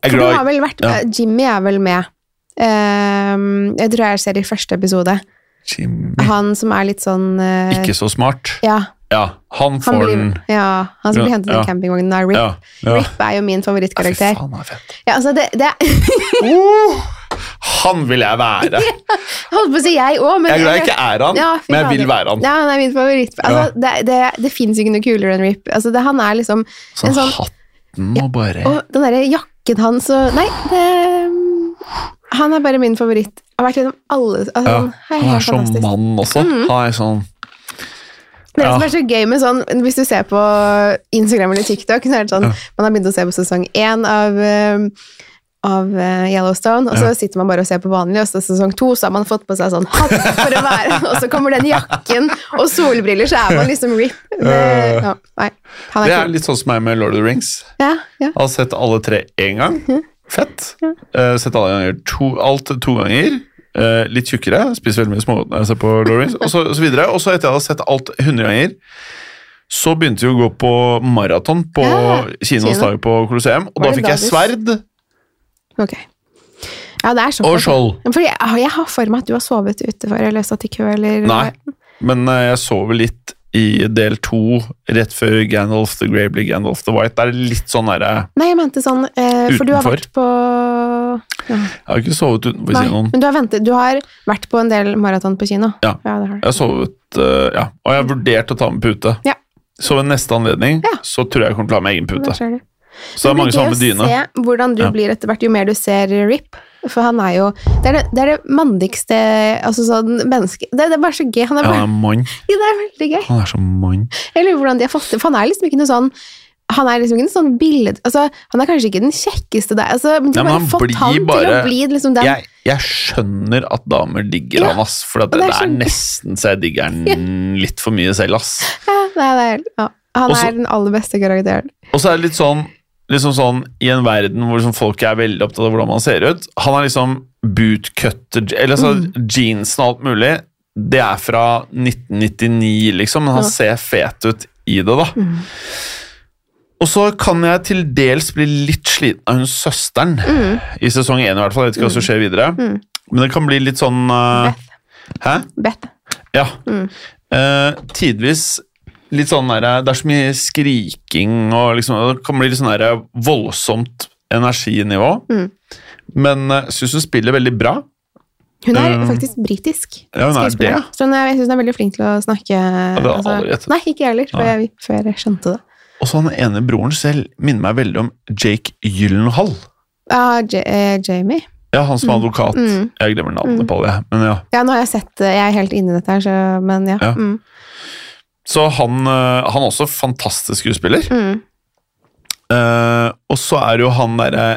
S1: For du har
S2: glad i
S1: vel vært
S2: Ja.
S1: eh, Jimmy er vel med. Ehm, jeg tror jeg ser i første episode.
S2: Jimmy.
S1: Han som er litt sånn eh,
S2: Mm. Ikke så smart.
S1: Ja,
S2: Ja, han
S1: han,
S2: får
S1: blir,
S2: den.
S1: ja, han som blir
S2: Ja,
S1: hentet i
S2: ja.
S1: campingvognen av Rip.
S2: Ja, ja.
S1: Rip er jo min
S2: Fy
S1: favorittkarakter.
S2: faen, han er fett.
S1: Ja, altså det, det
S2: Oh, han vil jeg være!
S1: holdt på å si jeg òg, men
S2: Jeg er glad jeg ikke er han,
S1: Ja, fy
S2: men jeg
S1: fader.
S2: vil være han.
S1: Ja, han er min favoritt. Altså, Det, det, det fins ikke noe kulere enn Rip. Altså, det, han er liksom
S2: Sånn,
S1: en sånn
S2: hatten og bare
S1: Og den derre jakken hans og Nei, det mm, Han er bare min favoritt. Har vært gjennom alle altså,
S2: ja,
S1: han, er
S2: Han
S1: helt
S2: er sånn
S1: fantastisk. Mm.
S2: mann også. Han er sånn
S1: Det er det som
S2: ja.
S1: er så gøy med sånn Hvis du ser på Instagram eller TikTok, så er det sånn Man har begynt å se på sesong én av eh, av eh, Yellowstone, og så sitter man bare og ser på vanlig, og så sesong to, så har man fått på seg sånn hatt for å være Og så kommer den jakken og solbriller, så er man liksom rip. Det, ja, nei, han
S2: Eh. Det
S1: er
S2: er
S1: kul.
S2: litt sånn som meg med Lord of the Rings.
S1: Ja, ja.
S2: Jeg har sett alle tre én gang. Fett. Eh, sett alle ganger to, alt to ganger. Eh, litt tjukkere. Spiser veldig mye små når jeg ser på Lord of the Rings. Og så, og så videre. Og så etter jeg hadde sett alt 100 ganger, så begynte vi å gå på maraton på
S1: Ja,
S2: kinoens
S1: kino.
S2: dag på Colosseum, og
S1: Var
S2: da
S1: det
S2: fikk
S1: da
S2: jeg
S1: du-
S2: sverd.
S1: Ok. Ja, det er sånn.
S2: Og skjold.
S1: Fordi jeg, jeg har for meg at du har sovet ute før, eller satt i kø, eller
S2: Nei, men eh, jeg sover litt i del to, rett før Gandalf the Grey blir Gandalf the White. Det er litt sånn derre
S1: Nei, jeg mente sånn eh, For du har
S2: Utenfor.
S1: vært på ja.
S2: Jeg har ikke sovet utenfor
S1: Nei,
S2: kinoen.
S1: men du har, ventet, du har vært på en del maraton på kino.
S2: Ja.
S1: det har
S2: Jeg
S1: du.
S2: har sovet eh, Ja. Og jeg har vurdert å ta med pute.
S1: Ja.
S2: Så ved neste anledning
S1: Ja.
S2: så tror jeg jeg kommer til å ha med egen
S1: Der
S2: pute.
S1: ser du.
S2: Så det er mange som har med
S1: blir gøy å
S2: dyne.
S1: Se hvordan du
S2: Ja.
S1: blir etter hvert, jo mer du ser Rip. For han er jo Det er det, det, er det mandigste altså sånn menneske... Det, det er bare så gøy. Han er
S2: Ja,
S1: bare,
S2: han er mann.
S1: ja. Det er veldig gøy.
S2: Han er så mann.
S1: Jeg lurer hvordan de har fått det, for han er liksom ikke noe sånn han er liksom ikke noe sånn billed... Altså, han er kanskje ikke den kjekkeste der, altså, men de
S2: Ja,
S1: har
S2: men
S1: bare
S2: han
S1: fått
S2: blir
S1: han til å
S2: bare-
S1: bli liksom den
S2: Jeg, jeg skjønner at damer digger
S1: Ja,
S2: han, ass. For at
S1: og det
S2: det,
S1: er
S2: det er
S1: så gøy.
S2: nesten så jeg digger han litt for mye selv, ass.
S1: ja, nei, det er, ja. Han
S2: Og så-
S1: er den aller beste karakteren.
S2: Og så er det litt sånn, liksom sånn I en verden hvor liksom folk er veldig opptatt av hvordan man ser ut Han er liksom bootcutter Eller så jeansen og alt mulig Det er fra 1999 liksom Men han
S1: Ja.
S2: ser fet ut i det da Og så kan jeg til dels bli litt sliten av hun søsteren I sesong 1 i hvert fall Jeg vet ikke hva som skjer videre Men det kan bli litt sånn eh,
S1: Beth.
S2: Hæ?
S1: Beth.
S2: Ja.
S1: Mm.
S2: Eh, tidvis litt sånn der, Det er så mye skriking og liksom Det kan bli litt sånn der voldsomt energinivå.
S1: Mm.
S2: Men jeg syns hun spiller veldig bra.
S1: Hun er
S2: Um,
S1: faktisk britisk.
S2: ja, hun er
S1: skuespiller.
S2: det, ja.
S1: Så hun er, jeg syns hun er veldig flink til å snakke altså.
S2: det hadde jeg aldri gjettet.
S1: Nei, ikke jeg heller, før jeg, før jeg skjønte det.
S2: Og så han ene broren selv minner meg veldig om Jake Gyllenhaal.
S1: Ja, J eh, Jamie.
S2: Ja, han som er advokat.
S1: Mm.
S2: Jeg glemmer navnet på det, men ja.
S1: Ja, nå har jeg sett eh, Jeg er helt inne i dette her, så Men ja.
S2: Ja.
S1: Mm,
S2: Så han, eh, han er også fantastisk skuespiller.
S1: mm.
S2: Eh, og så er det jo han derre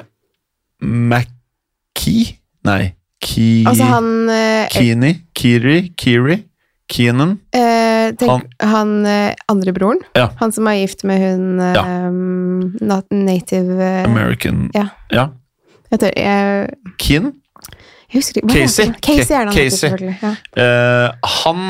S2: McKee Nei, Ki...
S1: Altså han eh,
S2: Kini, Kiri, Kiri, Keenan.
S1: eh, Tenk han eh, andre broren.
S2: Ja.
S1: Han som er gift med hun eh,
S2: Ja.
S1: nat- native eh,
S2: American
S1: Ja.
S2: ja.
S1: jeg, tør, jeg,
S2: Keen.
S1: jeg husker ikke hva
S2: Casey.
S1: heter han? Casey er det han heter,
S2: Casey.
S1: selvfølgelig. Ja.
S2: Eh, han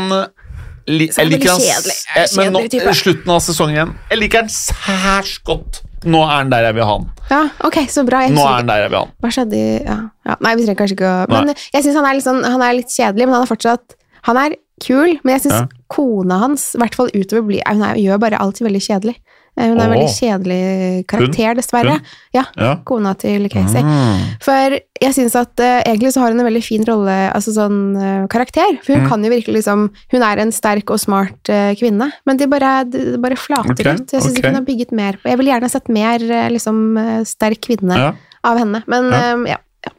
S1: Så han er
S2: li, Jeg liker
S1: veldig
S2: han
S1: kjedelig.
S2: s- eh, Men nå,
S1: Kjedelig type.
S2: slutten av sesongen igjen. Jeg liker han særs godt. Nå er han der jeg vil ha han.
S1: ja, ok, så bra. Jeg
S2: Nå
S1: husker
S2: er han der jeg vil ha han.
S1: Hva skjedde i ja. ja. Nei, vi trenger kanskje ikke å Men jeg syns han, er litt sånn, han er litt kjedelig, men han er fortsatt Han er kul, men jeg syns
S2: Ja.
S1: kona hans, i hvert fall utover blir Hun er, gjør bare alltid veldig kjedelig. Eh, Hun er en
S2: Åh.
S1: veldig kjedelig karakter, dessverre.
S2: Hun?
S1: Ja.
S2: Ja.
S1: Kona til Casey.
S2: Mm.
S1: For jeg syns at eh, egentlig så har hun en veldig fin rolle, altså sånn eh, karakter. For hun
S2: Mm.
S1: kan jo virkelig liksom Hun er en sterk og smart eh, kvinne, men det bare, det det bare flater
S2: Ok,
S1: ut. Jeg syns
S2: ok.
S1: ikke hun har bygget mer på Jeg ville gjerne sett mer eh, liksom eh, sterk kvinne
S2: Ja.
S1: av henne. Men
S2: Ja.
S1: ja. ja.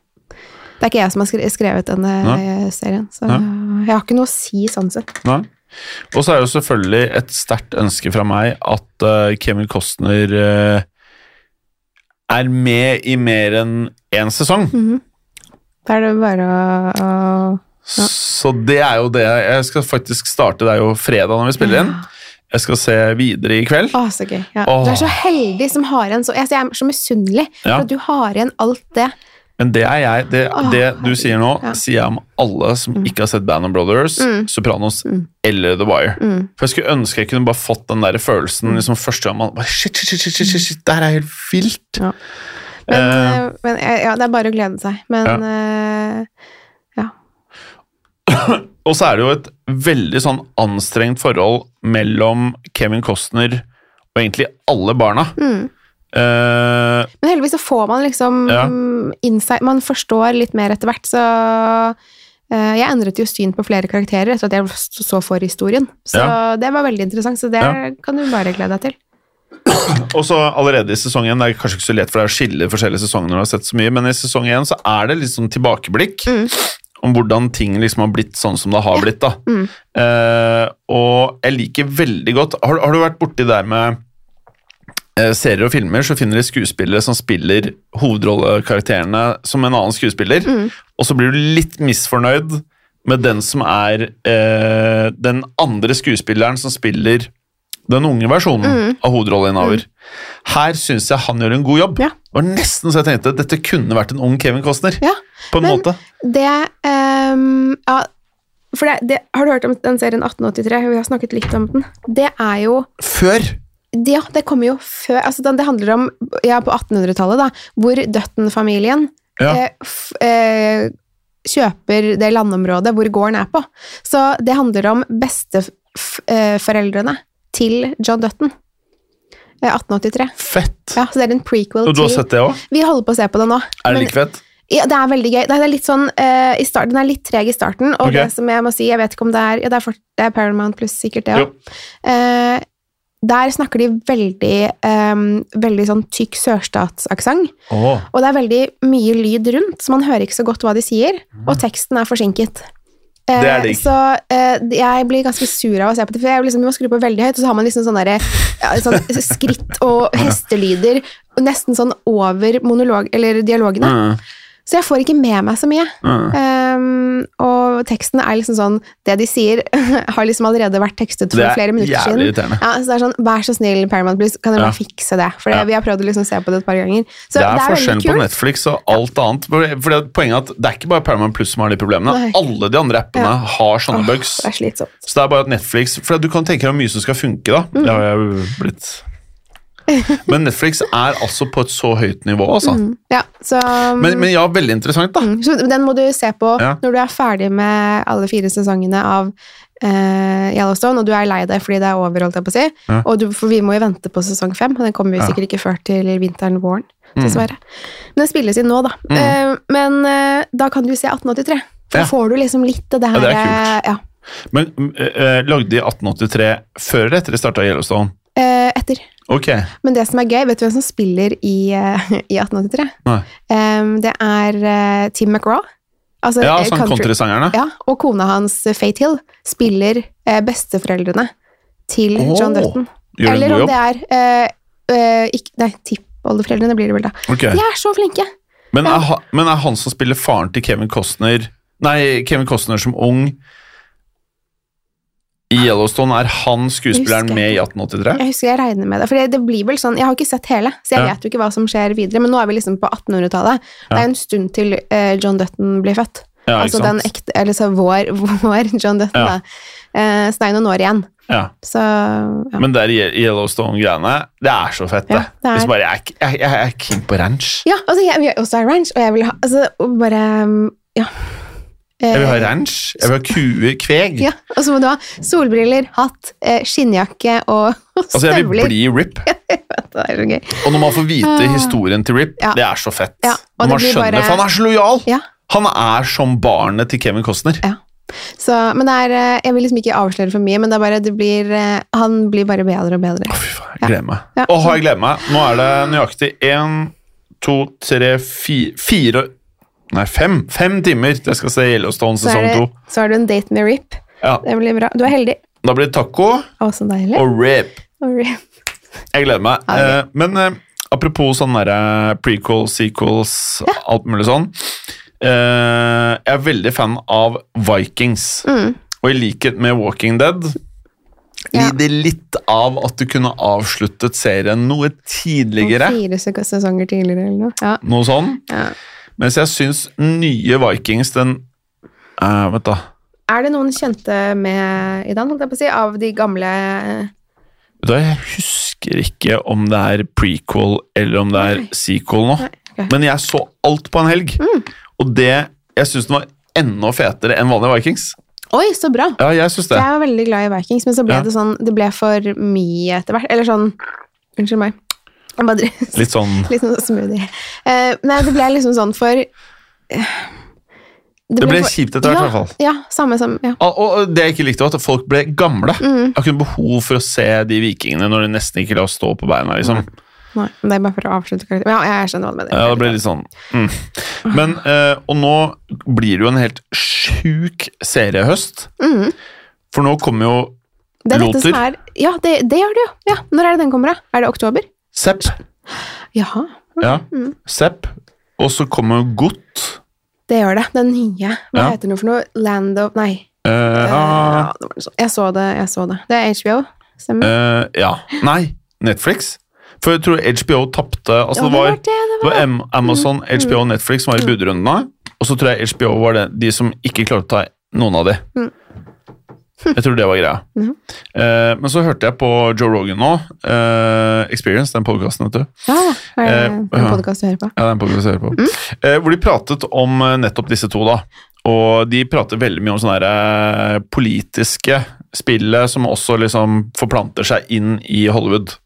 S1: Det er ikke jeg som har skre- skrevet denne
S2: Nei.
S1: eh, serien, så
S2: Nei.
S1: jeg har ikke noe å si sånn sett.
S2: Nei. Og så er det jo selvfølgelig et sterkt ønske fra meg at eh, Kevin Costner eh, er med i mer enn én sesong.
S1: Da er det bare å, å
S2: Så det er jo det Jeg skal faktisk starte, det er jo fredag når vi spiller inn. Jeg skal se videre i kveld.
S1: Å, så gøy. Ja.
S2: Åh.
S1: Du er så heldig som har igjen så Jeg jeg er så misunnelig for
S2: Ja.
S1: at du har igjen alt det.
S2: Men det er jeg. Det,
S1: Åh,
S2: det du sier nå,
S1: ja. Mm.
S2: sier jeg om alle som ikke har sett Band of Brothers, Sopranos eller The Wire.
S1: Mm.
S2: For jeg skulle ønske jeg kunne bare fått den der følelsen liksom første gang man bare, shit, shit, shit, shit, shit,
S1: Mm.
S2: shit, shit, det her er helt vilt.
S1: Ja. Men,
S2: Eh.
S1: eh, men eh, ja, det er bare å glede seg. Men eh, ja.
S2: Og så er det jo et veldig sånn anstrengt forhold mellom Kevin Costner og egentlig alle barna.
S1: Mm.
S2: Eh,
S1: Men heldigvis så får man liksom
S2: Ja.
S1: insight Man forstår litt mer etter hvert, så eh, Jeg endret jo syn på flere karakterer etter at jeg så- så for historien. Så
S2: Ja.
S1: det var veldig interessant, så det
S2: Ja.
S1: kan du bare glede deg til.
S2: Og så allerede i sesong 1, det er kanskje ikke så lett for deg å skille forskjellige sesonger når du har sett så mye, men i sesong 1 så er det litt sånn tilbakeblikk om hvordan ting liksom har blitt sånn som det har blitt, da.
S1: Mm.
S2: Eh, og jeg liker veldig godt Har, har du vært borti der med eh, serier og filmer, så finner de skuespillere som spiller hovedrollekarakterene som en annen skuespiller,
S1: Mm.
S2: og så blir du litt misfornøyd med den som er eh, den andre skuespilleren som spiller den unge versjonen
S1: Mm.
S2: av hovedrolleinnehaver. Her syns jeg han gjør en god jobb.
S1: Ja.
S2: Det var nesten så jeg tenkte dette kunne vært en ung Kevin Costner.
S1: Ja,
S2: På en
S1: men-
S2: måte.
S1: Det ehm, Ja, for det, det Har du hørt om den serien 1883? Vi har snakket litt om den. Det er jo
S2: Før!
S1: Ja, det kommer jo før altså, den- Det handler om ja, på 1800-tallet, da, hvor Dutton-familien
S2: Ja.
S1: eh, f, eh, kjøper det landområdet hvor gården er på. Så det handler om besteforeldrene eh, til John Dutton. Eh, 1883.
S2: Fett!
S1: Ja, så det er en prequel
S2: Og du har sett det òg?
S1: Vi holder på å se på det nå.
S2: Er det
S1: men-
S2: like fett?
S1: ja, det er veldig gøy. Det er litt sånn, eh, i starten, Den er litt treg i starten, og
S2: Ok.
S1: det som jeg må si, jeg vet ikke om det er ja, Det er, fort, det er Paramount pluss sikkert det
S2: Jo.
S1: òg. Eh, der snakker de veldig, eh, veldig sånn tykk sørstatsaksent,
S2: Åh.
S1: og det er veldig mye lyd rundt, så man hører ikke så godt hva de sier, og teksten er forsinket. Eh,
S2: Mm. Det er digg.
S1: Så eh, jeg blir ganske sur av å se på det, for jeg liksom, man skrur på veldig høyt, og så har man liksom sånne, der, ja, sånn skritt og hestelyder, og nesten sånn over monolog, eller dialogene.
S2: Mm,
S1: Så jeg får ikke med meg så mye.
S2: mm.
S1: Ehm, og teksten er liksom sånn Det de sier, har liksom allerede vært tekstet for
S2: Det er
S1: flere minutter
S2: jævlig
S1: siden.
S2: irriterende.
S1: Ja, så det er sånn, Vær så snill, Paramount Blues, kan dere
S2: Ja.
S1: bare fikse det? For det-
S2: Ja.
S1: vi har prøvd å liksom se på det et par ganger. Så
S2: Det er forskjellen
S1: veldig
S2: på
S1: kult.
S2: Netflix og alt annet. Fordi at Poenget er at det er ikke bare Paramount Plus som har de problemene.
S1: Nei.
S2: Alle de andre appene har sånne bugs.
S1: Det er slitsomt.
S2: Så det er bare at Netflix For du kan tenke deg hvor mye som skal funke,
S1: Mm.
S2: da. Det har jeg jo blitt. Men Netflix er altså på et så høyt nivå, altså.
S1: Ja, så,
S2: Men, men ja, veldig interessant, da.
S1: mm, så den må du se på
S2: Ja.
S1: når du er ferdig med alle fire sesongene av eh, Yellowstone, og du er lei deg fordi det er over, holdt jeg på å si.
S2: Ja.
S1: Og du, for vi må jo vente på sesong fem, og den kommer jo
S2: Ja.
S1: sikkert ikke før til vinteren-våren.
S2: Mm.
S1: dessverre. Men den spilles inn nå, da. Eh, men eh, da kan du se 1883. For
S2: Ja.
S1: Da får du liksom litt det der
S2: Ja, det er
S1: eh, ja.
S2: Men eh, eh, lagde de 1883 før eller etter de starta Yellowstone?
S1: Eh, etter.
S2: Ok.
S1: Men det som er gøy, vet du hvem som spiller i, eh, i 1883?
S2: Nei.
S1: Eh, det er eh, Tim McRaw. Altså,
S2: Ja,
S1: eh,
S2: sånn countrysangerne.
S1: Ja, og kona hans, eh, Faith Hill, spiller eh, besteforeldrene til
S2: Åh,
S1: John Dutton.
S2: Gjør de en
S1: Eller
S2: god
S1: om
S2: jobb?
S1: det er eh, eh, ikk- Nei, tippoldeforeldrene blir det vel, da.
S2: Ok.
S1: De er så flinke!
S2: Men, er, ha- men er han som spiller faren til Kevin Costner Nei, Kevin Costner som ung i Yellowstone, er han
S1: Jeg
S2: skuespilleren
S1: husker
S2: med i
S1: ikke.
S2: 1883?
S1: Jeg husker jeg regner med det, for det blir vel sånn, jeg har ikke sett hele, så jeg
S2: Ja.
S1: vet jo ikke hva som skjer videre, men nå er vi liksom på 1800-tallet. Det
S2: Ja.
S1: er en stund til eh, John Dutton blir født.
S2: Ja,
S1: altså
S2: ikke
S1: den
S2: sant?
S1: ekte, eller så vår, vår John Dutton
S2: Ja.
S1: da. Eh, så det er jo noen år igjen.
S2: Ja.
S1: Så, ja.
S2: Men det er Ye- Yellowstone-greiene. Det er så fett,
S1: Ja,
S2: det.
S1: det er-
S2: Hvis bare, jeg, er- jeg, jeg er keen på ranch.
S1: ja, altså jeg vil også ha ranch, og jeg vil ha, altså og bare, um, ja. Eh,
S2: Jeg vil ha ranch. Jeg vil ha kuer, kveg.
S1: Ja, og så må du ha solbriller, hatt, eh, skinnjakke og, og
S2: Altså, jeg vil
S1: støvler.
S2: bli Rip.
S1: Det er så gøy.
S2: Og når man får vite
S1: Ah.
S2: historien til Rip,
S1: Ja.
S2: det er så fett.
S1: Ja, og
S2: Når
S1: det
S2: man
S1: blir
S2: skjønner,
S1: bare-
S2: for han er så lojal.
S1: Ja.
S2: Han er som barnet til Kevin Costner.
S1: Så, men det er, eh, jeg vil liksom ikke avsløre for mye, men det er bare, det blir, eh, han blir bare bedre og bedre.
S2: Å, fy faen, jeg gleder meg.
S1: Ja. sånn.
S2: Åh, jeg gleder meg. Nå er det nøyaktig én, to, tre, fire, fire Nei, fem. Fem timer til jeg skal se Yellowstone
S1: Så, er
S2: sesong to.
S1: det, så har du en date med Rip.
S2: Ja.
S1: Det blir bra. Du er heldig.
S2: Da blir det taco
S1: Å, så deilig.
S2: og rip.
S1: Og Rip.
S2: Jeg gleder meg.
S1: Ja, det
S2: Eh, men eh, apropos sånne der, eh, prequel, sequels, alt mulig sånn. Eh, jeg er veldig fan av Vikings. Og i likhet med Walking Dead
S1: Mm. Ja.
S2: lider litt av at du kunne avsluttet serien noe tidligere.
S1: Fire sek- sesonger tidligere eller noe. Ja.
S2: Noe sånn.
S1: Ja.
S2: Mens jeg syns nye Vikings, den eh, Vent, da.
S1: Er det noen kjente med i den, holdt jeg på å si, av de gamle eh,
S2: Vet du hva, Jeg husker ikke om det er prequel eller om det er
S1: Nei.
S2: sequel nå.
S1: Nei, Mm. ok.
S2: Men jeg så alt på en helg, og det jeg syns den var enda fetere enn vanlige Vikings.
S1: Oi, så bra!
S2: Ja, jeg synes det.
S1: Jeg var veldig glad i Vikings, men så ble
S2: Ja.
S1: det sånn Det ble for mye etter hvert. Eller sånn Unnskyld meg. Jeg bare driver-
S2: Litt sånn
S1: Litt sånn smoothie. Eh, nei, det ble liksom sånn for eh,
S2: Det ble
S1: for-
S2: kjipt etter hvert,
S1: ja,
S2: i hvert fall. Ah,
S1: Ja, samme som ja.
S2: Og- Og det jeg ikke likte, var at folk ble gamle.
S1: Mm.
S2: Jeg har ikke noe behov for å se de vikingene når de nesten ikke la oss stå på beina. liksom.
S1: Nei, men det er bare for å avslutte karakteren. Ja, jeg skjønner hva du mener.
S2: Ja, det ble litt sånn mm. Men, eh, Og nå blir det jo en helt sjuk seriehøst. For nå kommer jo
S1: Det er dette som
S2: Låter.
S1: er Ja, det, det gjør det jo. Ja. Når er det den kommer, da? Er det oktober?
S2: Sepp.
S1: Jaha,
S2: Ja. Sepp. Og så kommer jo Godt.
S1: det gjør det. Den nye. Hva
S2: Ja.
S1: heter den for noe? Land of Nei.
S2: Eh,
S1: Ja, det var noe sånt. Jeg så det, jeg så det. Det er HBO,
S2: ah,
S1: stemmer
S2: eh, ja. Nei, Netflix. For jeg tror HBO tapte altså
S1: Ja,
S2: Det var,
S1: det, det
S2: det var Am- Amazon, HBO og Netflix som var i budrundene. Og så tror jeg HBO var det, de som ikke klarte å ta noen av de. Jeg tror det var greia.
S1: Mhm.
S2: Eh, men så hørte jeg på Joe Rogan nå. eh, Experience, den podkasten, vet du.
S1: Ja, hva er det
S2: Eh,
S1: for en
S2: ja.
S1: podkast du hører på?
S2: Ja, den podcasten jeg hører på. Eh, hvor de pratet om eh, nettopp disse to, da. Og de prater veldig mye om sånne her, eh, politiske spillet som også liksom forplanter seg inn i Hollywood.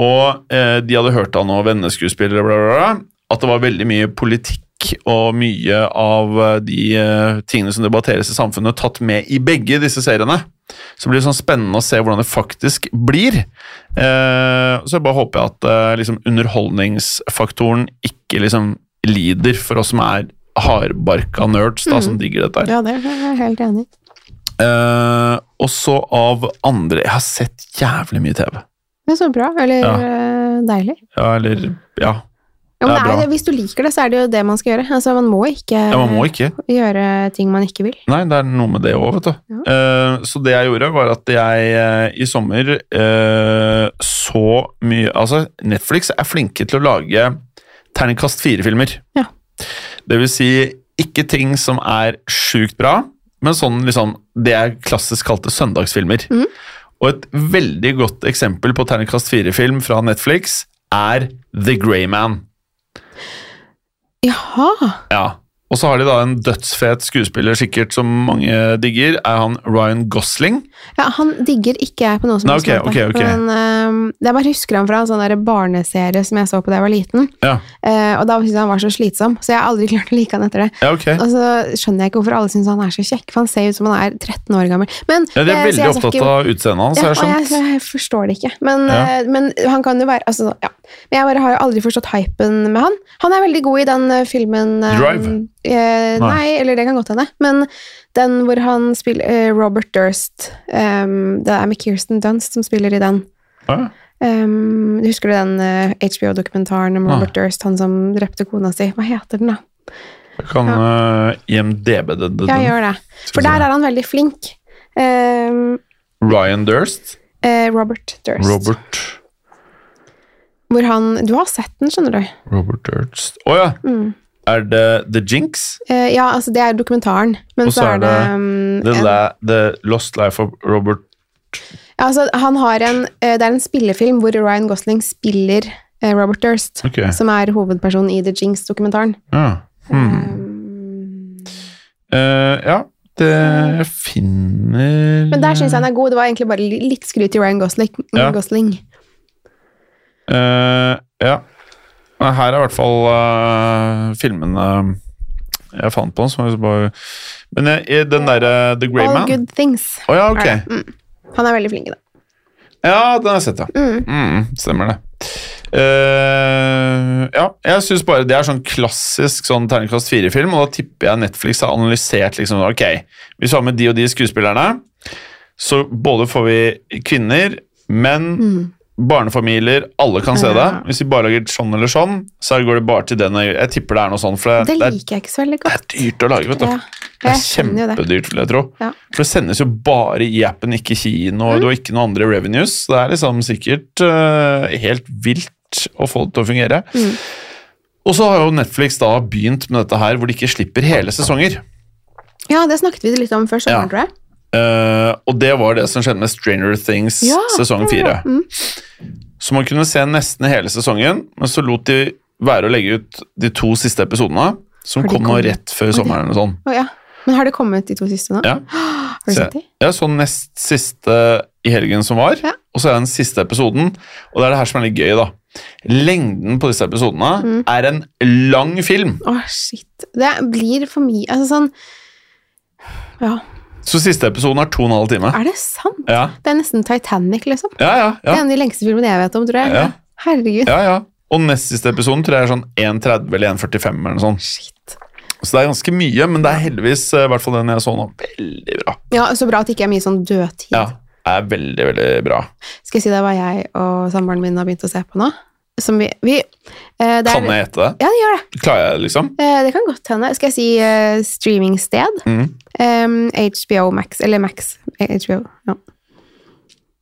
S2: Og eh, de hadde hørt av noen venneskuespillere bla, bla, bla, at det var veldig mye politikk og mye av eh, de eh, tingene som debatteres i samfunnet, tatt med i begge disse seriene. Så det blir sånn spennende å se hvordan det faktisk blir. Eh, så jeg bare håper jeg at eh, liksom underholdningsfaktoren ikke liksom lider for oss som er hardbarka nerds da, som digger dette. her.
S1: Ja, det er jeg helt enig i.
S2: Eh, og så av andre Jeg har sett jævlig mye TV.
S1: Det er så bra, eller
S2: Ja.
S1: eh, deilig.
S2: Ja, eller Ja,
S1: Ja, men
S2: Det
S1: det
S2: er
S1: er
S2: bra.
S1: det, hvis du liker det, så er det jo det man skal gjøre. Altså, man må ikke, eh,
S2: ja man må ikke.
S1: gjøre ting man ikke vil.
S2: Nei, det er noe med det òg, vet du. Eh, så det jeg gjorde, var at jeg eh, i sommer eh, så mye Altså, Netflix er flinke til å lage terningkast fire-filmer.
S1: Ja.
S2: Det vil si ikke ting som er sjukt bra, men sånn liksom Det jeg klassisk kalte søndagsfilmer.
S1: Mhm.
S2: Og et veldig godt eksempel på terningkast fire-film fra Netflix er The Grey Man.
S1: Jaha!
S2: Ja. Og så har de da en dødsfet skuespiller sikkert som mange digger, er han Ryan Gosling.
S1: Ja, han digger ikke jeg på noe som
S2: Nei,
S1: helst
S2: ok,
S1: måte.
S2: ok, ok.
S1: Men ehm, jeg bare husker han fra en sånn der barneserie som jeg så på da jeg var liten.
S2: Ja,
S1: Eh, og da syntes jeg han var så slitsom, så jeg har aldri klart å like han etter det.
S2: ja ok.
S1: Og så skjønner jeg ikke hvorfor alle syns han er så kjekk, for han ser ut som han er 13 år gammel. Men,
S2: Ja, de
S1: eh, så
S2: er
S1: jeg
S2: veldig
S1: skal
S2: opptatt
S1: ikke-
S2: av utseendet hans, har
S1: ja,
S2: jeg
S1: og jeg,
S2: skjønt.
S1: jeg forstår det ikke. Men,
S2: Ja.
S1: eh, men han kan jo være altså, ja. Men jeg bare har jo aldri forstått hypen med han. Han er veldig god i den eh, filmen eh,
S2: Drive?
S1: Eh, nei.
S2: Nei.
S1: eller det kan godt hende. Men den hvor han spiller eh, Robert Durst eh, Det er med Kirsten Dunst som spiller i den.
S2: Ja,
S1: Eh, husker du den HBO-dokumentaren om Robert Durst, han som drepte kona si? Hva heter den, da?
S2: Jeg kan eh, IMDb det, det,
S1: Ja,
S2: det.
S1: gjør det.
S2: Skal
S1: For
S2: vi se.
S1: der er han veldig flink. Eh,
S2: Ryan Durst.
S1: eh, Robert Durst.
S2: Robert
S1: Hvor han Du har sett den, skjønner du.
S2: Robert Durst. Å ja!
S1: Mm.
S2: Er det The Jinx?
S1: Eh, ja, altså det er dokumentaren, men
S2: Og
S1: så er det, um,
S2: The,
S1: en,
S2: la, the Lost Life of Robert
S1: ja, altså, han har en, eh, Det er en spillefilm hvor Ryan Gosling spiller eh, Robert Durst,
S2: Ok.
S1: som er hovedpersonen i The Jinx-dokumentaren.
S2: Ja. Hmm.
S1: Um,
S2: Eh, ja. Det jeg finner
S1: Mm. men der syns jeg han er god. Det var egentlig bare li- litt skryt til Ryan Gosling.
S2: Ja.
S1: Gosling.
S2: Eh, ja. Men Her er i hvert fall eh, filmene eh, jeg fant på. Som jeg bare... Men eh, i den derre The Grey
S1: All
S2: Man Å
S1: good things.
S2: ja,
S1: er det.
S2: ok.
S1: Mm. Han er veldig flink i det.
S2: Ja, den har jeg sett, ja.
S1: Mm.
S2: Mm, stemmer det. Eh, ja, jeg synes bare det er sånn klassisk sånn terningkast fire-film, og da tipper jeg Netflix har analysert liksom Ok, hvis vi har med de og de skuespillerne, så både får vi kvinner, menn, barnefamilier, alle kan se det.
S1: Mm. Ja.
S2: Hvis vi bare lager sånn eller sånn, så går det bare til den Jeg tipper det er noe sånn, for
S1: Det
S2: det, det, er,
S1: liker jeg ikke så veldig
S2: det
S1: godt.
S2: er dyrt å lage, vet du.
S1: Ja,
S2: Det
S1: jeg
S2: er
S1: skjønner jo det.
S2: kjempedyrt, vil jeg tro.
S1: Ja. Mm.
S2: For det sendes jo bare i appen, ikke kino. Du har ikke noen andre revenues. Det er liksom sikkert eh, helt vilt å få det til å fungere.
S1: Mm.
S2: Og så har jo Netflix da begynt med dette her, hvor de ikke slipper hele sesonger.
S1: Ja, det snakket vi litt om før sommeren,
S2: Ja.
S1: tror jeg.
S2: Eh, og det var det som skjedde med Stranger Things
S1: Ja,
S2: sesong fire.
S1: Mm.
S2: Så man kunne se nesten hele sesongen, men så lot de være å legge ut de to siste episodene, som
S1: For de
S2: kom nå
S1: kom-
S2: rett før sommeren. eller sånn.
S1: Å, ja. Men har det kommet de to siste nå?
S2: Ja.
S1: Har du
S2: Så
S1: sett de?
S2: jeg, jeg så nest siste i helgen som var,
S1: Ja.
S2: og så er den siste episoden. Og det er det her som er litt gøy, da. Lengden på disse episodene
S1: Mm.
S2: er en lang film.
S1: Åh, shit. Det blir for mye Altså sånn Ja,
S2: Så siste episoden er to og en halv time.
S1: er det sant?
S2: Ja,
S1: Det er nesten Titanic, liksom.
S2: ja, ja.
S1: Det er
S2: ja,
S1: en av de lengste filmene jeg vet om, tror jeg.
S2: Ja.
S1: Herregud.
S2: ja, ja. Og nest siste episoden tror jeg er sånn 1.30 eller 1.45 eller noe sånt.
S1: Shit.
S2: Så det er ganske mye, men det er heldigvis, eh, i hvert fall den jeg så nå, veldig bra.
S1: Ja, Så bra at det ikke er mye sånn dødtid.
S2: Ja, er veldig, veldig bra.
S1: Skal jeg si det var jeg og samboeren min har begynt å se på nå? Som vi, vi eh, det er,
S2: Kan jeg gjette det?
S1: Ja, det gjør det.
S2: Klarer jeg det, liksom?
S1: Eh, det kan godt hende. Skal jeg si eh, streamingsted?
S2: Mm.
S1: Em, HBO Max, eller Max. eh, HBO, ja.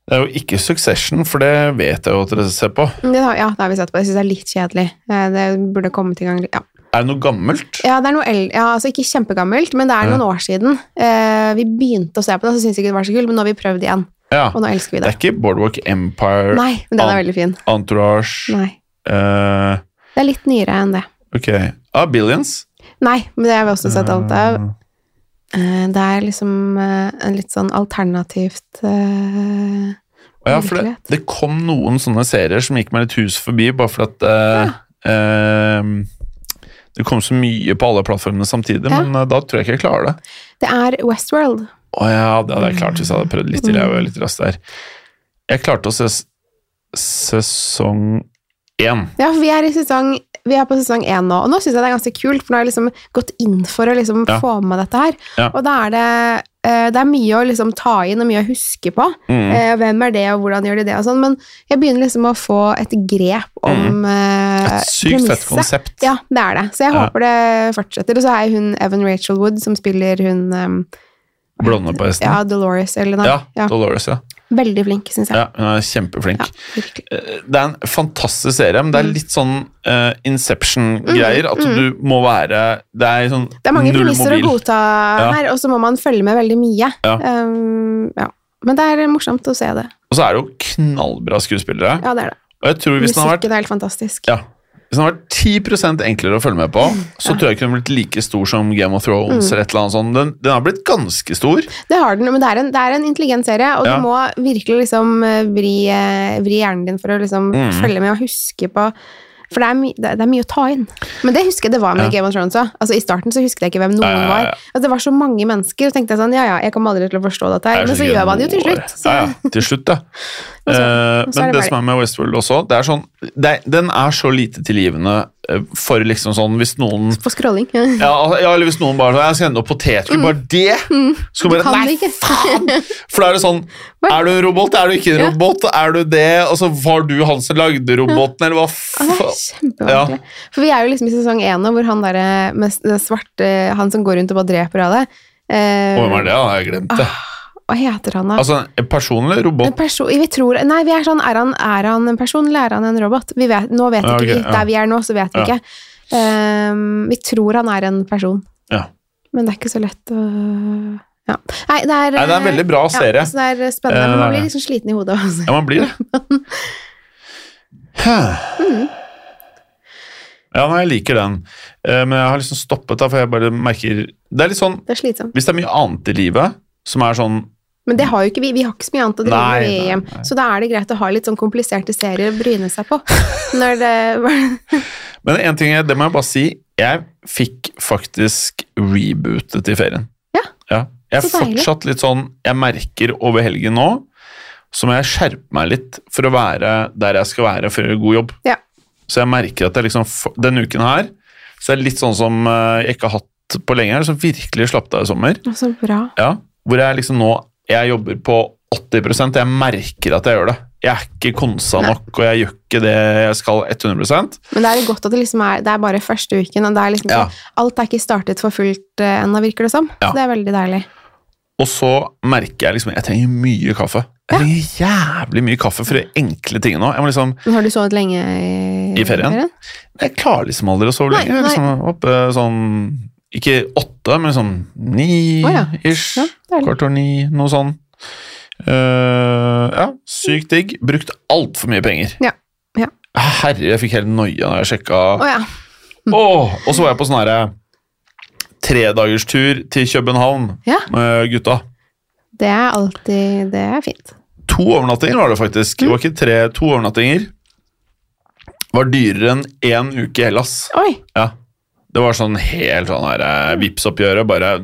S2: Det er jo ikke Succession, for det vet jeg jo at dere ser på.
S1: Det har, ja, det har vi sett på. Jeg syns det er litt kjedelig. Eh, det burde kommet i gang litt. Ja.
S2: Er det noe gammelt?
S1: Ja, det er noe el- ja, altså ikke kjempegammelt, men det er noen år siden. Eh, vi begynte å se på det, og så syntes vi ikke det var så kult, men nå har vi prøvd igjen.
S2: Ja.
S1: Og nå elsker vi
S2: Det
S1: det.
S2: er ikke Boardwalk Empire,
S1: Nei, men den
S2: An-
S1: er veldig fin.
S2: Entourage
S1: Nei.
S2: eh,
S1: Det er litt nyere enn det.
S2: Ok. Ah, Billions.
S1: Nei, men det har vi også sett alt av.
S2: Mm.
S1: Eh, Det er liksom eh, en litt sånn alternativt eh,
S2: Og Ja, for det,
S1: virkelighet.
S2: det kom noen sånne serier som gikk meg litt hus forbi, bare for at eh, eh, Det kom så mye på alle plattformene samtidig,
S1: Ja.
S2: men eh, da tror jeg ikke jeg klarer det.
S1: Det er Westworld.
S2: Å ja, det hadde jeg klart hvis jeg hadde prøvd litt til. Jeg
S1: Mm.
S2: var litt rask der. Jeg klarte å se s- sesong én.
S1: Ja, for vi er, i sesong, vi er på sesong én nå, og nå syns jeg det er ganske kult, for nå har jeg liksom gått inn for å liksom
S2: Ja.
S1: få med dette her.
S2: Ja.
S1: Og da er det eh, det er mye å liksom ta inn og mye å huske på.
S2: Mm.
S1: Eh, Hvem er det, og hvordan gjør de det, og sånn. Men jeg begynner liksom å få et grep om eh,
S2: Mm. Et sykt fett
S1: premisset.
S2: konsept.
S1: Ja, det er det. Så jeg
S2: Ja.
S1: håper det fortsetter. Og så er hun Evan Rachel Wood, som spiller hun um,
S2: Blonde på hesten.
S1: Ja, Dolores, eller noe.
S2: Mm. Ja, Dolores, ja.
S1: Veldig flink, syns jeg.
S2: ja. Hun er kjempeflink.
S1: Ja, virkelig.
S2: Eh, Det er en fantastisk serie, men det
S1: Mm.
S2: er litt sånn eh, Inception-greier. At du må være Det er sånn
S1: Det er mange
S2: null
S1: premisser å
S2: mobil.
S1: godta
S2: Ja.
S1: her, og så må man følge med veldig mye.
S2: Ja.
S1: Um, ja. Men det er morsomt å se det.
S2: Og så er det jo knallbra skuespillere.
S1: Ja, det er det.
S2: Og jeg tror hvis den, hadde vært,
S1: Musikken er helt fantastisk.
S2: ja, hvis den hadde vært 10 enklere å følge med på,
S1: Mm,
S2: så tror jeg ikke den hadde blitt like stor som Game of Thrones. eller et eller annet sånt. Den, den har blitt ganske stor.
S1: Det har den, men det er en, det er en intelligent serie, og
S2: Ja.
S1: du må virkelig liksom eh, vri, eh, vri hjernen din for å liksom
S2: Mm.
S1: følge med og huske på for det er, my, det, det er mye å ta inn. Men det husker jeg det var med
S2: Ja.
S1: Game of Thrones òg. Altså, I starten så husket jeg ikke hvem noen
S2: Ja, ja, ja, ja.
S1: var. Altså, det var så mange mennesker, og tenkte jeg sånn ja ja, jeg kommer aldri til å forstå dette
S2: Det
S1: her.
S2: er
S1: Men så
S2: sikkert
S1: gjør man det jo til
S2: noe
S1: slutt.
S2: år.
S1: Så,
S2: Ja, ja, til slutt, ja.
S1: Og så-
S2: Eh,
S1: og så er
S2: men
S1: det
S2: det
S1: ferdig.
S2: som er med Westworld også, det er sånn, det er, den er så lite tilgivende eh, for liksom sånn hvis noen
S1: På scrolling.
S2: ja, altså, ja, eller hvis noen bare sånn, jeg skal hende opp potetgull, bare det! Så kan man
S1: Kan Mm. det
S2: bare, nei,
S1: ikke.
S2: faen! For da er det sånn, er du en robot, er du ikke en
S1: Ja.
S2: robot, er du det, og så var du han som lagde roboten, eller hva
S1: Ja, Ah, det er
S2: faen?
S1: kjempevanskelig. For vi er jo liksom i sesong én nå, hvor han der eh, med s- det svarte eh, Han som går rundt og bare dreper alle. Eh,
S2: Hvem er det, da? Jeg har glemt
S1: Ah.
S2: det.
S1: Hva heter han, da?
S2: Altså, en personlig
S1: en
S2: robot.
S1: person, vi tror, nei, vi er sånn er han, er han en person, eller er han en robot? Vi vet, nå vet ikke
S2: Ja, ok,
S1: vi.
S2: ja.
S1: Der vi er nå, så vet vi
S2: Ja.
S1: ikke. Ehm, vi tror han er en person,
S2: Ja.
S1: men det er ikke så lett å ja. Nei, det er,
S2: Nei, det er en
S1: eh,
S2: veldig bra serie.
S1: Ja, så det er spennende, men man
S2: Eh.
S1: blir liksom sliten i hodet. Altså.
S2: Ja, man blir det. Huh.
S1: Mm.
S2: Ja, nei, jeg liker den. Eh, Men jeg har liksom stoppet da, for jeg bare merker Det er litt sånn
S1: Det er slitsomt.
S2: Hvis det er mye annet i livet som er sånn
S1: Men det har jo ikke vi. Vi har ikke så mye annet å drive
S2: Nei,
S1: med i
S2: nei,
S1: hjem.
S2: nei.
S1: Så da er det greit å ha litt sånn kompliserte serier å bryne seg på. Når det
S2: Men en ting, jeg- det må jeg bare si. Jeg fikk faktisk rebootet i ferien.
S1: Ja,
S2: Jeg er
S1: så deilig.
S2: fortsatt litt sånn Jeg merker over helgen nå, så må jeg skjerpe meg litt for å være der jeg skal være for å gjøre god jobb.
S1: Ja.
S2: Så jeg merker at jeg liksom f- Denne uken her så er det litt sånn som eh, jeg ikke har hatt på lenge, som virkelig slapp av i sommer.
S1: Å, Så bra.
S2: Ja, hvor jeg liksom nå Jeg jobber på 80 jeg merker at jeg gjør det. Jeg er ikke konsa
S1: Nei.
S2: nok, og jeg gjør ikke det jeg skal 100
S1: Men det er jo godt at det liksom er Det er bare første uken, og det er liksom
S2: Ja.
S1: sånn, alt er ikke startet for fullt eh, ennå, virker det som.
S2: Ja.
S1: Så det er veldig deilig.
S2: Og så merker jeg liksom Jeg trenger mye kaffe. Jeg trenger jævlig mye kaffe for de enkle tingene nå. Jeg må liksom
S1: Men har du sovet lenge i,
S2: I ferien? Jeg klarer liksom aldri å sove
S1: Nei,
S2: lenge. Jeg er Liksom oppe sånn Ikke åtte, men sånn
S1: Å ja.
S2: ni-ish.
S1: Ja, deilig.
S2: Kvart over ni, noe sånn. Eh, ja, sykt digg. Brukt altfor mye penger. Ah,
S1: Ja, ja.
S2: Herre, jeg fikk helt noia når jeg sjekka.
S1: Å ja.
S2: Åh, og så var jeg på sånn herre tredagerstur til København
S1: Ja.
S2: med gutta.
S1: Det er alltid Det er fint.
S2: To overnattinger var det faktisk. Det var ikke tre, to overnattinger. Var dyrere enn én uke i Hellas.
S1: Oi!
S2: Ja. Det var sånn helt sånn her eh, Vipps-oppgjøret, bare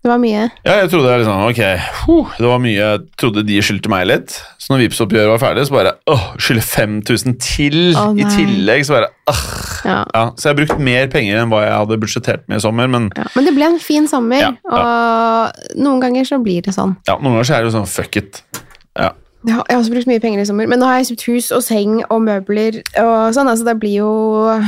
S1: Det var mye.
S2: Ja, jeg trodde liksom Ok, huh, det var mye Jeg trodde de skyldte meg litt. Så når Vipps-oppgjøret var ferdig, så bare Åh, skylder 5000 til
S1: Å,
S2: i
S1: nei.
S2: tillegg. Så bare ah.
S1: Ja.
S2: ja. Så jeg har brukt mer penger enn hva jeg hadde budsjettert med i sommer, men
S1: Ja. Men det ble en fin sommer,
S2: Ja,
S1: og noen ganger så blir det sånn.
S2: ja, noen ganger så er det jo sånn fuck it. Ja.
S1: Ja, jeg har også brukt mye penger i sommer, men nå har jeg kjøpt hus og seng og møbler og sånn, altså det blir jo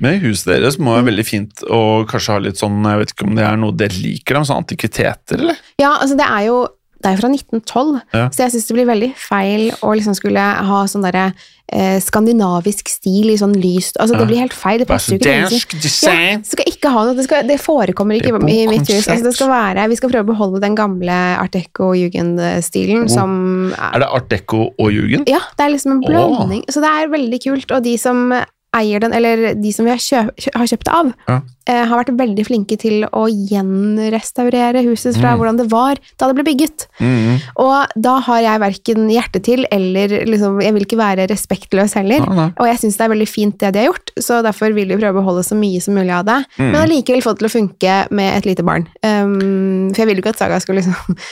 S2: Men huset deres må
S1: Mm.
S2: være veldig fint og kanskje ha litt sånn Jeg vet ikke om det er noe dere liker, da, men sånn antikviteter, eller?
S1: Ja, altså det er jo det er jo fra 1912,
S2: Ja.
S1: så jeg syns det blir veldig feil å liksom skulle ha sånn derre eh, skandinavisk stil i sånn lyst Altså,
S2: Ja.
S1: det blir helt feil. Det
S2: Bare
S1: passer
S2: så
S1: jo ikke. til
S2: dansk
S1: husene.
S2: design.
S1: Ja, det skal ikke ha noe, det, skal, det forekommer ikke
S2: Det
S1: i
S2: er
S1: mitt hus.
S2: konsept.
S1: Altså, det skal være, vi skal prøve å beholde den gamle art deco-jugend-stilen
S2: Hvor-
S1: som
S2: Er det art deco og jugend?
S1: Ja, det er liksom en
S2: Åh.
S1: blanding. Så det er veldig kult. Og de som eier den, eller de som vi har, kjøp, kjø- har kjøpt det av,
S2: Ja.
S1: eh, har vært veldig flinke til å gjenrestaurere huset fra
S2: Mm.
S1: hvordan det var da det ble bygget.
S2: Mhm.
S1: Og da har jeg verken hjerte til, eller liksom, jeg vil ikke være respektløs heller.
S2: Nei, nei.
S1: Og jeg syns det er veldig fint det de har gjort, så derfor vil vi prøve å beholde så mye som mulig av det.
S2: Mm.
S1: Men allikevel få det til å funke med et lite barn. Um, for jeg ville jo ikke at Saga skulle liksom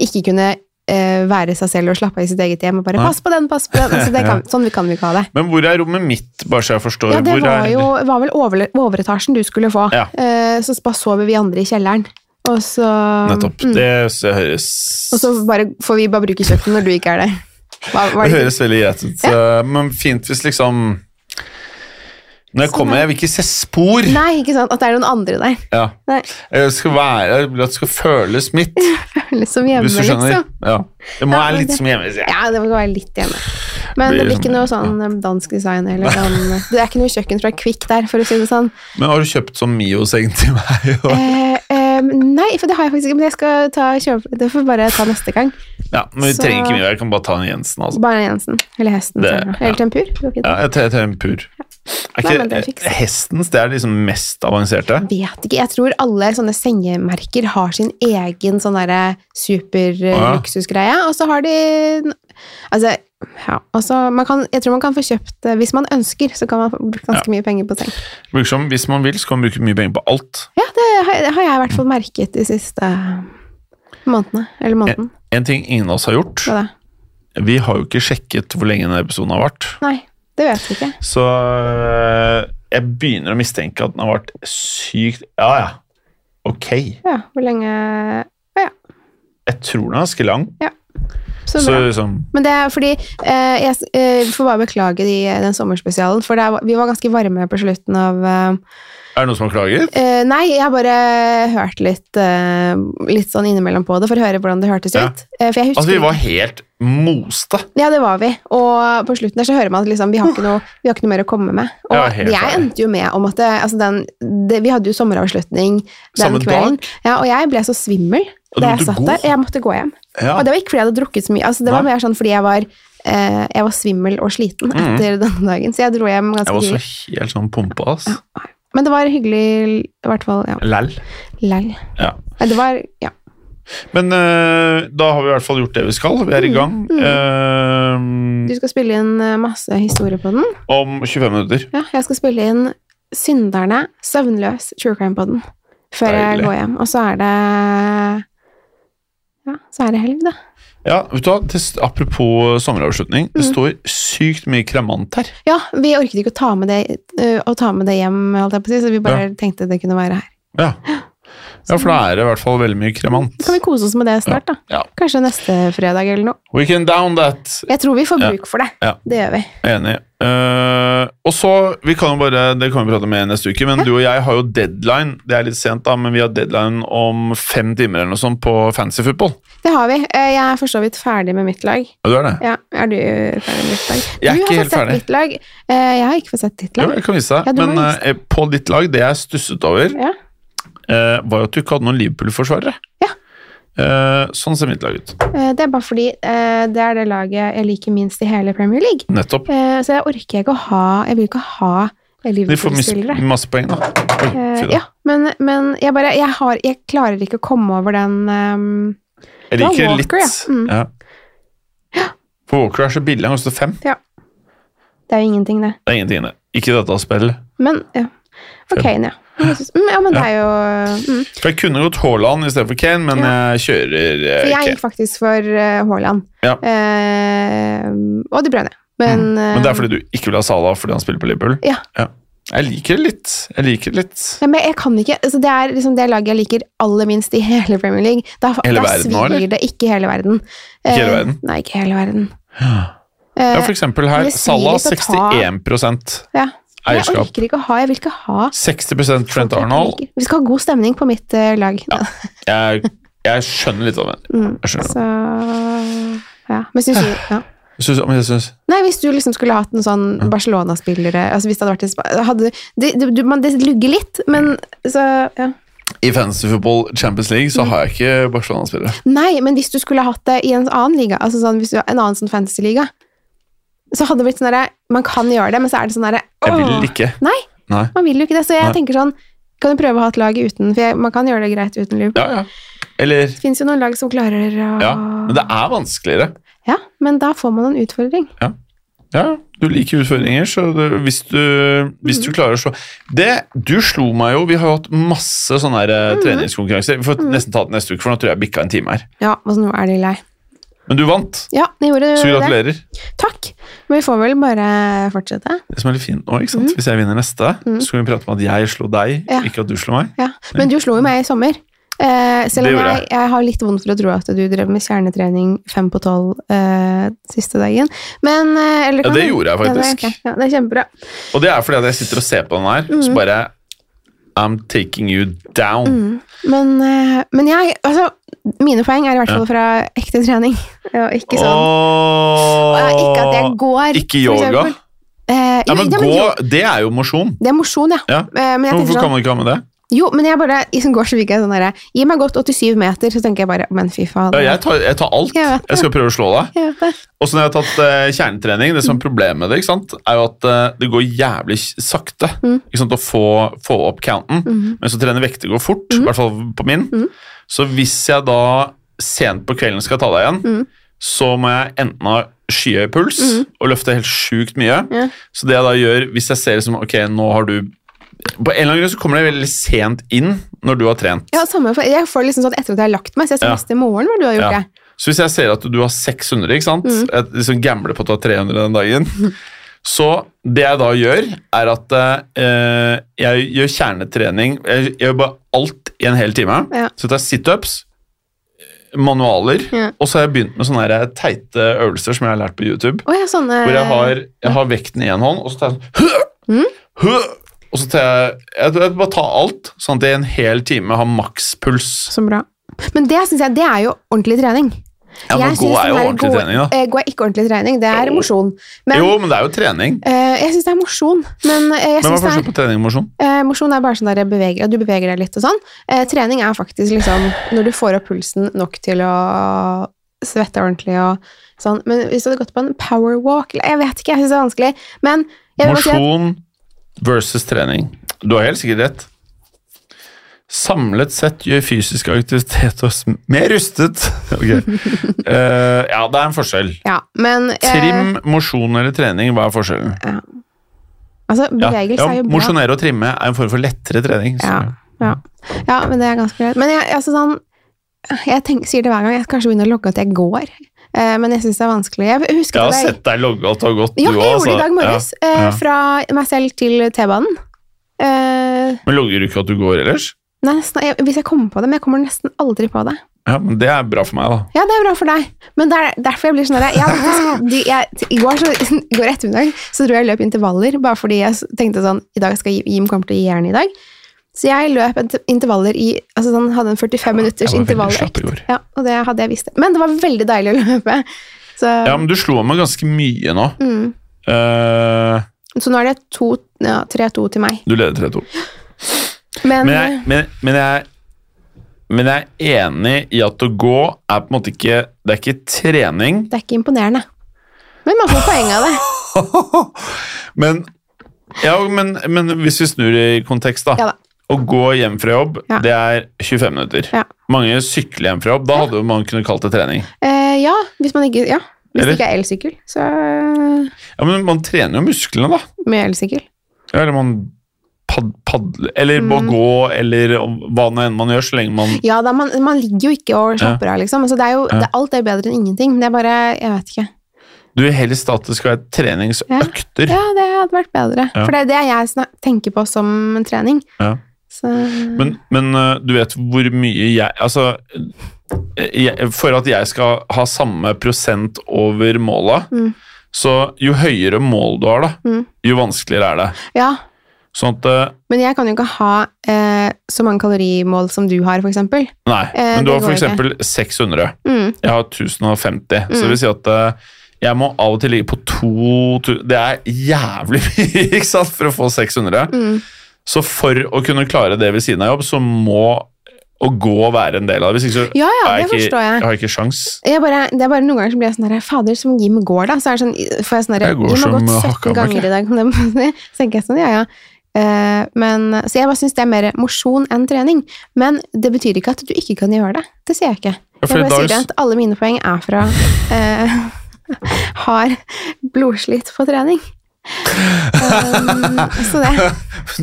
S1: ikke kunne eh, være seg selv og slappe av i sitt eget hjem og bare
S2: Nei.
S1: 'pass på den, pass på den'. Altså, det kan, sånn kan vi ikke ha det.
S2: Men hvor er rommet mitt, bare så jeg forstår?
S1: Ja, det
S2: hvor
S1: var
S2: er,
S1: jo var vel over, overetasjen du skulle få.
S2: Ja.
S1: Eh, så bare sover vi andre i kjelleren. Og så,
S2: Nettopp.
S1: Mm.
S2: Det s- høres
S1: og så bare, får vi bare bruke kjøkkenet når du ikke er der. Hva, hva er
S2: Det
S1: det-
S2: høres veldig greit ut. eh, Men fint hvis liksom Når jeg
S1: Så
S2: kommer,
S1: bare-
S2: jeg vil ikke se spor.
S1: Nei, ikke sant? At det er noen andre der.
S2: Ja.
S1: Nei,
S2: Jeg skal være, jeg vil at det skal føles mitt,
S1: Føles som hjemme,
S2: hvis du skjønner.
S1: liksom.
S2: Ja. Det må
S1: Ja,
S2: være
S1: men
S2: litt
S1: det-
S2: som hjemme. sier jeg.
S1: Ja, det må være litt hjemme. Men
S2: Blir
S1: det blir ikke
S2: sånn-
S1: noe sånn eh, dansk design eller sånn Det er ikke noe kjøkken fra Kvikk der, for å si det sånn.
S2: Men har du kjøpt sånn Mio-seng til meg? Og...
S1: Eh, eh, nei, for det har jeg faktisk ikke, men jeg skal ta kjøpe Det får vi bare ta neste gang.
S2: Ja, men vi
S1: så-
S2: trenger ikke mye, jeg kan bare ta en Jensen, altså.
S1: Bare Jensen. Eller Hesten.
S2: Det-
S1: tror jeg. Eller Tempur. det var ikke det.
S2: Ja, jeg tar jeg tar en pur. Er
S1: Nei, men det er
S2: ikke
S1: fiks.
S2: hestens, det er liksom mest avanserte?
S1: Vet ikke. Jeg tror alle sånne sengemerker har sin egen sånn derre
S2: Å, ja.
S1: superluksusgreie, og så har de Altså, ja. Og så man kan, jeg tror man kan få kjøpt eh, Hvis man ønsker, så kan man få brukt ganske mye penger på seng.
S2: Bruker som, hvis man vil, så kan man bruke mye penger på alt.
S1: Ja, det har, det har jeg i hvert fall merket de siste månedene. Eller måneden.
S2: En ting ingen av oss har gjort,
S1: Hva da?
S2: vi har jo ikke sjekket hvor lenge denne episoden har vært.
S1: Nei, det vet vi ikke.
S2: Så øh, jeg begynner å mistenke at den har vært sykt Ja, ja. Ok.
S1: Ja, hvor lenge Å ja,
S2: Jeg tror den er ganske lang.
S1: så
S2: Så
S1: bra.
S2: liksom
S1: Men det er fordi eh, Jeg eh, får bare beklage de, den sommerspesialen, for det er, vi var ganske varme på slutten av eh,
S2: Er det noen som har klaget?
S1: Eh, nei, jeg har bare hørt litt, eh, litt sånn innimellom på det, for å høre hvordan det hørtes
S2: Ja.
S1: ut. Eh, for jeg husker
S2: Altså, vi var helt moste.
S1: Ja, det var vi. Og på slutten der så hører man at liksom, vi, har ikke noe, vi har ikke noe mer å komme med. Og
S2: Ja, helt
S1: jeg
S2: ærlig.
S1: endte jo med om at det, altså den, det, Vi hadde jo sommeravslutning den
S2: Samme
S1: kvelden. Ja, og jeg ble så svimmel
S2: Og du
S1: da jeg
S2: måtte
S1: satt
S2: gå?
S1: der. Jeg måtte gå hjem.
S2: Ja.
S1: Og det var ikke fordi jeg hadde drukket så mye. Altså, det var
S2: Nei. Mm.
S1: mer sånn fordi jeg var, eh, jeg var svimmel og sliten etter denne dagen. Så jeg dro hjem
S2: Jeg
S1: ganske
S2: var så
S1: tidlig.
S2: helt sånn pumpa, ass.
S1: Men det var hyggelig, i hvert fall. Ja.
S2: Læll.
S1: Lell.
S2: Ja.
S1: Nei, Det var Ja.
S2: Men øh, da har vi i hvert fall gjort det vi skal. Vi er
S1: Mm.
S2: i gang.
S1: Du
S2: Øh,
S1: skal spille inn eh, masse historier på den.
S2: om 25 minutter.
S1: Ja, jeg skal spille inn Synderne, Søvnløs, True Crime på den. Før jeg
S2: Deilig.
S1: går hjem. Og så er det Ja, så er det helg, da.
S2: Ja, vet du hva? Det, s- apropos sommeravslutning.
S1: Mm.
S2: Det står sykt mye kremant her.
S1: Ja, vi orket ikke å ta med det, eh, å ta med det hjem, holdt jeg på å si, så vi bare tenkte det kunne være her.
S2: Ja. ja, for da er det i hvert fall veldig mye kremant.
S1: Sånn. Kan vi kose oss med det snart, da?
S2: Ja.
S1: Kanskje neste fredag eller noe.
S2: We can down that.
S1: Jeg tror vi får
S2: Ja.
S1: bruk for det.
S2: Ja.
S1: Det gjør vi.
S2: Enig. Eh, og så, vi kan jo bare, Det kan vi prate med neste uke, men du og jeg har jo deadline. Det er litt sent, da, men vi har deadline om fem timer eller noe sånt på fancy football.
S1: Det har vi. Eh, Jeg er for så vidt ferdig med mitt lag.
S2: Ja, du er det?
S1: Ja, er du ferdig med ditt lag?
S2: Jeg er
S1: du
S2: ikke
S1: har
S2: helt
S1: fått sett
S2: ferdig.
S1: mitt lag. Eh, Jeg har ikke fått sett ditt
S2: Jo,
S1: lag.
S2: jeg kan vise deg.
S1: Ja, du må
S2: men
S1: vise
S2: eh, på ditt lag, det jeg stusset over,
S1: Ja.
S2: eh, var jo at du ikke hadde noen Liverpool-forsvarere.
S1: Ja.
S2: Eh, sånn ser mitt lag ut.
S1: Eh, Det er bare fordi eh, det er det laget jeg liker minst i hele Premier League.
S2: Nettopp.
S1: Eh, Så jeg orker ikke å ha Jeg vil ikke ha
S2: De får mis
S1: Liverpool-spillere.
S2: masse poeng, da. Oi,
S1: Eh,
S2: fy da.
S1: Ja, men, men jeg bare jeg, har, jeg klarer ikke å komme over den ehm,
S2: Jeg
S1: Det var
S2: liker
S1: Walker,
S2: litt.
S1: ja. Mm.
S2: Ja. For Walker er så billig, han koster fem.
S1: Det er jo ingenting, det.
S2: Det er ingenting i det. Ikke i dette spillet.
S1: Men ja. For Kane, ja. Men jeg synes- mm, Ja, men det er jo mm.
S2: For jeg kunne gått Haaland istedenfor Kane, men jeg kjører eh,
S1: For jeg
S2: Kane.
S1: gikk faktisk for eh, Haaland.
S2: Ja. Mm.
S1: Eh, og De Brønne. Men,
S2: Men det er fordi du ikke vil ha Salah fordi han spiller på Liverpool?
S1: eh, Ja.
S2: Jeg liker det litt. Jeg liker det litt.
S1: Nei, men jeg kan ikke, altså det er liksom det laget jeg liker aller minst i hele Premier League. Da,
S2: Hele
S1: da
S2: verden nå,
S1: svir
S2: eller?
S1: det ikke i hele verden.
S2: Ikke hele
S1: Eh,
S2: verden?
S1: Nei, ikke hele verden.
S2: Ja,
S1: Eh,
S2: for eksempel her.
S1: men det svir
S2: Salah
S1: litt å ta-
S2: 61
S1: ja. Men Jeg
S2: eierskap.
S1: orker ikke å ha, jeg vil ikke ha
S2: 60
S1: folk jeg
S2: Trent
S1: ikke
S2: Arnold.
S1: liker. Vi skal ha god stemning på mitt eh, lag. Mm.
S2: Jeg, jeg skjønner litt av det. Jeg skjønner.
S1: Så ja. Men syns du ja.
S2: Synes, men jeg synes,
S1: Nei, hvis du liksom skulle hatt en sånn Barcelona-spillere altså hvis det hadde vært en spa hadde, det, det, du, man, det lugger litt, men så ja.
S2: I Fantasy Football Champions League så har jeg ikke Barcelona-spillere.
S1: Nei, men hvis du skulle hatt det i en annen liga, altså sånn, hvis du har en annen sånn fantasy-liga, så hadde det blitt sånn derre Man kan gjøre det, men så er det sånn derre
S2: Jeg
S1: åh,
S2: vil ikke.
S1: Nei,
S2: Nei.
S1: man vil jo ikke det. Så jeg
S2: Nei.
S1: tenker sånn Kan du prøve å ha et lag uten? For jeg, man kan gjøre det greit uten Liverpool.
S2: Ja, ja. Eller
S1: Det fins jo noen lag som klarer å
S2: Ja. Men det er vanskeligere.
S1: Ja, men da får man en utfordring.
S2: Ja, du liker utfordringer, så det, hvis, du, hvis du klarer å slå Det, du slo meg jo Vi har jo hatt masse sånne her, eh, treningskonkurranser. Vi får nesten ta det neste uke, for nå tror jeg jeg bikka en time her.
S1: Ja, og så nå er de lei.
S2: Men du vant,
S1: Ja, jeg gjorde
S2: så
S1: det.
S2: gratulerer.
S1: Takk. Men vi får vel bare fortsette.
S2: Det som er litt fint nå, ikke sant? Hvis jeg vinner neste, så kan vi prate om at jeg slo deg,
S1: Ja.
S2: ikke at du slo meg.
S1: Ja. Men du slo jo meg i sommer. Eh, selv
S2: Det
S1: om
S2: gjorde
S1: jeg, jeg har litt vondt for å tro at du drev med kjernetrening fem på tolv eh, siste dagen. Men, eh, eller
S2: Ja,
S1: kan
S2: det
S1: du-
S2: gjorde
S1: Ja,
S2: jeg
S1: det er
S2: faktisk.
S1: ok. Ja, det er kjempebra.
S2: Og det er fordi at jeg sitter og ser på den her,
S1: Mm.
S2: så bare I'm taking you down.
S1: Mm, Men, eh, men jeg, altså, mine poeng er i hvert fall fra ekte trening. Og ikke sånn
S2: Åh,
S1: ja, Ikke at jeg går,
S2: Ikke
S1: for
S2: yoga.
S1: eksempel. Eh, jo,
S2: Ja,
S1: ja,
S2: men
S1: men
S2: gå,
S1: jo,
S2: det er jo mosjon.
S1: det er mosjon, ja.
S2: Ja.
S1: Eh, men jeg tenker
S2: Hvorfor
S1: sånn,
S2: kan man ikke ha med det?
S1: jo, men jeg bare, i sånn gårdsvik er jeg sånn derre Gi meg godt 87 meter, så tenker jeg bare Men fy faen.
S2: Ja, jeg, tar, jeg tar alt.
S1: Jeg vet det.
S2: Jeg skal prøve å slå deg.
S1: Jeg vet det.
S2: Og så når jeg har tatt eh, kjernetrening, det som er problemet med det, ikke sant, er jo at eh, det går jævlig s- sakte ikke sant, å få, få opp counten. Men så trener vekter går fort, i hvert fall på min. Så hvis jeg da sent på kvelden skal ta deg igjen, så må jeg enten ha skyhøy puls og løfte helt sjukt mye.
S1: Ja.
S2: Så det jeg da gjør, hvis jeg ser liksom, ok, nå har du På en eller annen grunn så kommer det veldig sent inn når du har trent.
S1: Ja, samme for, jeg får det liksom sånn etter at jeg har lagt meg, så jeg skal
S2: Ja.
S1: neste morgen hva du har gjort
S2: Ja.
S1: det.
S2: Så hvis jeg ser at du har 600, ikke sant?
S1: Mm.
S2: Jeg liksom gambler på at du har 300 den dagen. Så det jeg da gjør, er at eh, jeg gjør kjernetrening. Jeg jeg gjør bare alt i en hel time.
S1: Ja.
S2: Så jeg tar situps, manualer,
S1: Ja.
S2: og så har jeg begynt med sånne her teite øvelser som jeg har lært på YouTube.
S1: Å ja, sånn, eh, sånne
S2: Hvor jeg har, jeg har vekten i én hånd, og så tar jeg sånn hø,
S1: Mm.
S2: hø, Og så tar jeg, jeg, jeg bare tar alt, sånn at jeg i en hel time har makspuls.
S1: Så bra. Men det syns jeg det er jo ordentlig trening.
S2: Ja, men
S1: Jeg
S2: gå
S1: synes
S2: er jo
S1: den her
S2: ordentlig
S1: gå-
S2: trening, da.
S1: eh, Gå er ikke ordentlig trening, det er
S2: Jo.
S1: mosjon. Men
S2: jo, men det er jo trening.
S1: eh, jeg syns det er mosjon. Men eh, jeg
S2: Men hva er
S1: synes det
S2: forskjellen
S1: er,
S2: på trening og mosjon?
S1: eh, mosjon er bare sånn der jeg beveger, at du beveger deg litt og sånn. Eh, trening er faktisk liksom når du får opp pulsen nok til å svette ordentlig og sånn. Men hvis du hadde gått på en power walk eller- Jeg vet ikke, jeg syns det er vanskelig. Men jeg vil bare si at
S2: Mosjon versus trening. Du har helt sikkert rett. Samlet sett gjør fysisk aktivitet oss mer rustet. Ok. Eh, ja, det er en forskjell.
S1: ja, men, eh,
S2: Trim, mosjon eller trening, hva er forskjellen?
S1: Altså,
S2: Ja,
S1: bevegelse
S2: ja,
S1: er jo bra.
S2: Mosjonere og trimme er en form for lettere trening. så-
S1: Ja, ja. ja, men det er ganske greit. Men jeg, altså sånn, jeg tenker, sier det hver gang, jeg skal kanskje begynne å logge at jeg går. Eh, men jeg syns det er vanskelig. Jeg
S2: Jeg
S1: husker
S2: har
S1: at jeg,
S2: sett deg logge alt du har gått,
S1: ja,
S2: du
S1: jeg
S2: også,
S1: gjorde det i
S2: altså.
S1: dag morges.
S2: Ja,
S1: eh,
S2: ja.
S1: Fra meg selv til T-banen. Eh,
S2: Men logger du ikke at du går ellers?
S1: nei, nesten, jeg, hvis jeg kommer på det, men jeg kommer nesten aldri på det.
S2: Ja, men Det er bra for meg, da.
S1: Ja, det er bra for deg, men det er derfor jeg blir sånn der, jeg, har faktisk- de, jeg, t- I går, så, i går ettermiddag så tror jeg jeg løp intervaller, bare fordi jeg s- tenkte sånn I dag skal Jim- Jim komme til å gi jernet i dag. Så jeg løp int- intervaller i altså sånn, Hadde en 45 minutters
S2: Jeg var veldig
S1: intervalløkt.
S2: slapp i går.
S1: Ja, og det hadde jeg visst. Men det var veldig deilig å løpe. Så,
S2: Ja, men du slo meg ganske mye nå.
S1: mm.
S2: Eh,
S1: så nå er det to- ja, 3-2 til meg.
S2: du leder 3-2.
S1: Men, eh,
S2: Men jeg, men, men jeg men jeg er enig i at å gå er på en måte ikke Det er ikke trening,
S1: det er ikke imponerende. Men man får poeng av det.
S2: men Ja, men, men hvis vi snur i kontekst, da.
S1: Ja da.
S2: Å gå hjem fra jobb,
S1: Ja.
S2: det er 25 minutter.
S1: Ja.
S2: Mange sykler hjem fra jobb. Da hadde jo man kunnet kalt det trening.
S1: Eh, ja, hvis man ikke Ja, hvis
S2: Eller?
S1: det ikke er elsykkel, så
S2: Ja, Men man trener jo musklene, da.
S1: med elsykkel.
S2: Ja, Eller man pad, padler Eller
S1: Mm.
S2: å gå, eller hva nå enn man gjør, så lenge man
S1: Ja, da, man, man ligger jo ikke og slapper av, liksom. Altså, det er jo,
S2: Ja.
S1: det, alt er bedre enn ingenting. men Det er bare Jeg vet ikke.
S2: Du vil helst at det skal være treningsøkter.
S1: Ja, det hadde vært bedre.
S2: Ja.
S1: For det er det jeg snak, tenker på som en trening.
S2: Ja.
S1: Så
S2: Men, men øh, du vet hvor mye jeg Altså, øh, jeg, for at jeg skal ha samme prosent over måla,
S1: Mm.
S2: så jo høyere mål du har, da,
S1: Mm.
S2: jo vanskeligere er det.
S1: Ja.
S2: Sånn at øh,
S1: Men jeg kan jo ikke ha eh, så mange kalorimål som du har, for eksempel.
S2: Nei.
S1: Eh,
S2: men du
S1: det
S2: har
S1: går
S2: f.eks. 600.
S1: Mm.
S2: Jeg har 1050. Så
S1: Mm.
S2: det vil si at øh, Jeg må av og til ligge på to tu- Det er jævlig mye ikke sant, for å få 600.
S1: Mm.
S2: Så for å kunne klare det ved siden av jobb, så må å gå være en del av det. Hvis ikke så
S1: Ja, ja,
S2: har jeg
S1: det
S2: ikke,
S1: forstår jeg.
S2: har jeg ikke sjans.
S1: Jeg bare, det er bare Noen ganger så blir jeg sånn der, Fader, som Jim går, da. Så er det sånn, får jeg sånn der,
S2: Jeg
S1: Jim
S2: går
S1: har
S2: som
S1: gått 17
S2: hakka bakke.
S1: ganger i dag. kan jeg bare si. Så tenker jeg sånn, ja, ja. Eh, men, så jeg bare syns det er mer mosjon enn trening. Men det betyr ikke at du ikke kan gjøre det. Det sier jeg ikke. Jeg
S2: for i
S1: bare
S2: dag
S1: sier
S2: s-
S1: at alle mine poeng er fra eh, har blodslitt på trening. Um, så det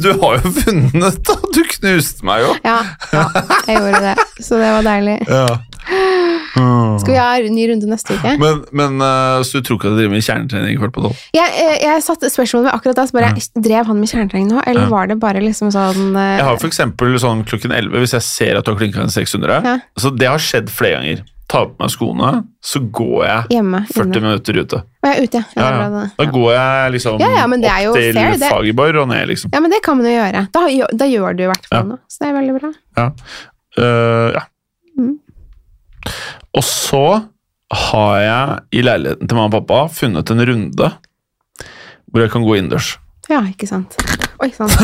S2: Du har jo vunnet, da! Du knuste meg jo!
S1: ja, ja, jeg gjorde det. Så det var deilig.
S2: Ja.
S1: Skal vi ha en ny runde neste uke?
S2: Men, men eh, så du tror ikke at du driver med kjernetrening i kveld på tolv?
S1: Jeg, jeg, jeg satte spørsmålet ved akkurat da, så bare drev han med kjernetrening nå, eller
S2: Ja.
S1: var det bare liksom sånn eh,
S2: Jeg har for eksempel sånn klokken 11, hvis jeg ser at du har klinka en 600
S1: Ja.
S2: Så det har skjedd flere ganger. Tar på meg skoene, så går jeg
S1: hjemme?
S2: 40
S1: inne?
S2: minutter ute.
S1: Å, jeg er ute, ja. Ja, det
S2: Ja,
S1: er
S2: ja.
S1: bra,
S2: Da
S1: det. ja.
S2: går jeg liksom
S1: Ja, ja, men det er jo
S2: opp til
S1: fair, det.
S2: Fagerborg og ned, liksom.
S1: ja, men det kan man jo gjøre. Da, gjør- da gjør du i hvert fall noe, så det er veldig bra.
S2: Ja. Eh, ja.
S1: Mm.
S2: Og så har jeg i leiligheten til mamma og pappa funnet en runde hvor jeg kan gå innendørs.
S1: Ja, ikke sant. Oi, sant.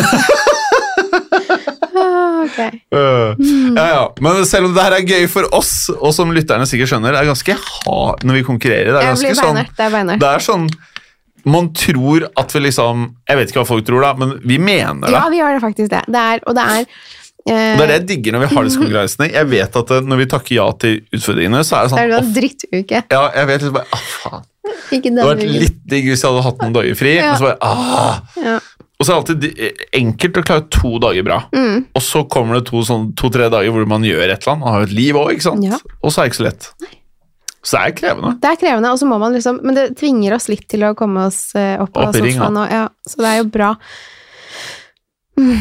S1: Ah, ok.
S2: Øh,
S1: Mm.
S2: ja, ja. Men selv om det her er gøy for oss, og som lytterne sikkert skjønner, det er ganske hard når vi konkurrerer. Det er
S1: Jeg
S2: ganske
S1: blir
S2: sånn,
S1: beinhardt. Det er beinhardt.
S2: det er sånn Man tror at vi liksom Jeg vet ikke hva folk tror, da, men vi mener det.
S1: Ja, vi gjør det faktisk det. det er, og det er eh,
S2: Og Det er det jeg digger når vi har disse konkurransene. Jeg vet at eh, Når vi takker ja til utfordringene, så er det
S1: det er
S2: sånn
S1: jo
S2: «Å,
S1: en drittuke.
S2: ja, jeg vet liksom bare, ah, faen.
S1: Ikke
S2: Det
S1: denne
S2: hadde vært
S1: uken.
S2: litt digg hvis jeg hadde hatt noen dager fri.
S1: Ja.
S2: Men så bare, ah.
S1: Ja.
S2: Og så er det alltid di- enkelt å klare to dager bra.
S1: Mm.
S2: Og så kommer det to-tre sånn, to, tre dager hvor man gjør et eller annet. Man har jo et liv òg, ikke sant?
S1: Ja.
S2: Og så er det ikke så lett. Så det er krevende.
S1: Det er krevende, og så må man liksom Men det tvinger oss litt til å komme oss eh, opp av
S2: Opp i ringa.
S1: sofaen. Og, ja, så det er jo bra. Mm,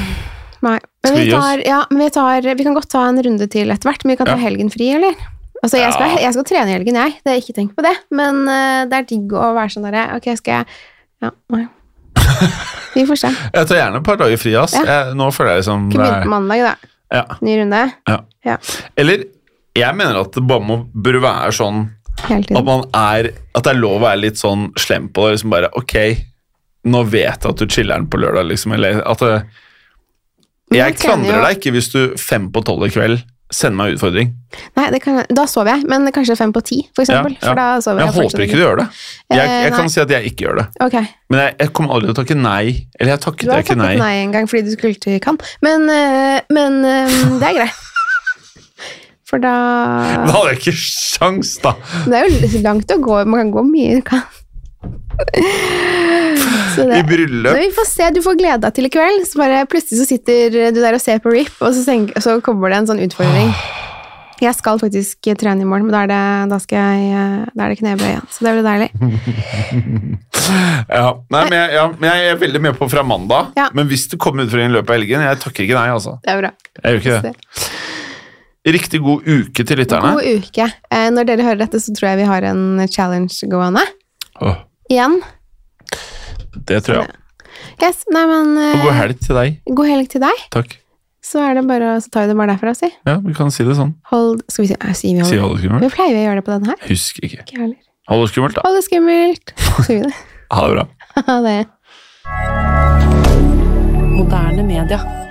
S1: nei. Men
S2: Skal vi
S1: vi,
S2: gi oss?
S1: tar, ja, men vi, tar, vi kan godt ta en runde til etter hvert, men vi kan ta
S2: Ja.
S1: helgen fri, eller? Altså, jeg skal,
S2: Ja.
S1: jeg skal trene i helgen, jeg. Det er ikke tenk på det. Men eh, det er digg å være sånn derre Ok, skal jeg Ja, nei. Vi får se.
S2: Jeg tar gjerne et par dager fri. ass.
S1: Ja.
S2: Jeg, nå føler jeg
S1: Kunne
S2: liksom det
S1: begynt på
S2: er,
S1: mandag, da.
S2: ja,
S1: Ny runde.
S2: ja.
S1: Ja.
S2: Eller jeg mener at det bare må, bør være sånn
S1: Hele
S2: at,
S1: tiden.
S2: man er, at det er lov å være litt sånn slem på det. Liksom bare ok, nå vet jeg at du chiller'n på lørdag, liksom. Eller at det,
S1: Men
S2: Jeg
S1: jeg trener
S2: klandrer
S1: jo-
S2: deg ikke hvis du fem på tolv i kveld sender meg en utfordring.
S1: Nei, det kan, da sover jeg, men kanskje fem på ti, for eksempel.
S2: Ja, ja.
S1: For da sover
S2: Jeg
S1: jeg. fortsatt
S2: håper ikke du gjør det. Jeg,
S1: Eh,
S2: jeg
S1: nei.
S2: kan si at jeg ikke gjør det.
S1: Ok.
S2: Men jeg, jeg kommer aldri til å takke nei. Eller jeg takket
S1: Du har
S2: jeg ikke
S1: takket
S2: nei.
S1: nei. en gang fordi du skulle til Cannes, men, øh, men øh, det er greit. For da
S2: Da hadde jeg ikke sjans, da!
S1: Det er jo langt å gå. Man kan gå mye i Cannes. Så
S2: I
S1: det men
S2: bryllup.
S1: vi får se, Du får glede deg til i kveld. Så bare Plutselig så sitter du der og ser på RIP, og så, tenk- og så kommer det en sånn utfordring. Jeg skal faktisk trene i morgen, men da er det, da skal jeg, øh, da er det knebøy igjen. Så det blir deilig.
S2: Ja. Nei, men jeg, ja, men jeg er veldig med på fra mandag.
S1: Ja.
S2: Men hvis det kommer utfordring i løpet av helgen, jeg takker ikke nei, altså.
S1: Det er bra.
S2: Jeg gjør ikke det. Riktig god uke til lytterne.
S1: God uke. Eh, Når dere hører dette, så tror jeg vi har en challenge gående.
S2: Åh,
S1: Igjen.
S2: det tror jeg.
S1: Yes, nei, men
S2: Og god
S1: eh,
S2: helg til deg.
S1: god helg til deg.
S2: Takk.
S1: Så, er det bare, så tar vi det bare derfra, si.
S2: Ja, vi kan si det sånn.
S1: Hold, skal vi si, eh, sier vi
S2: Si
S1: hold.
S2: ha det skummelt.
S1: Vi pleier å gjøre det på denne her.
S2: Husk ikke.
S1: Ikke jeg heller.
S2: Ha det skummelt, da.
S1: Hold det skummelt. Sier vi det?
S2: Ha det bra.
S1: Ha det.
S3: Moderne media.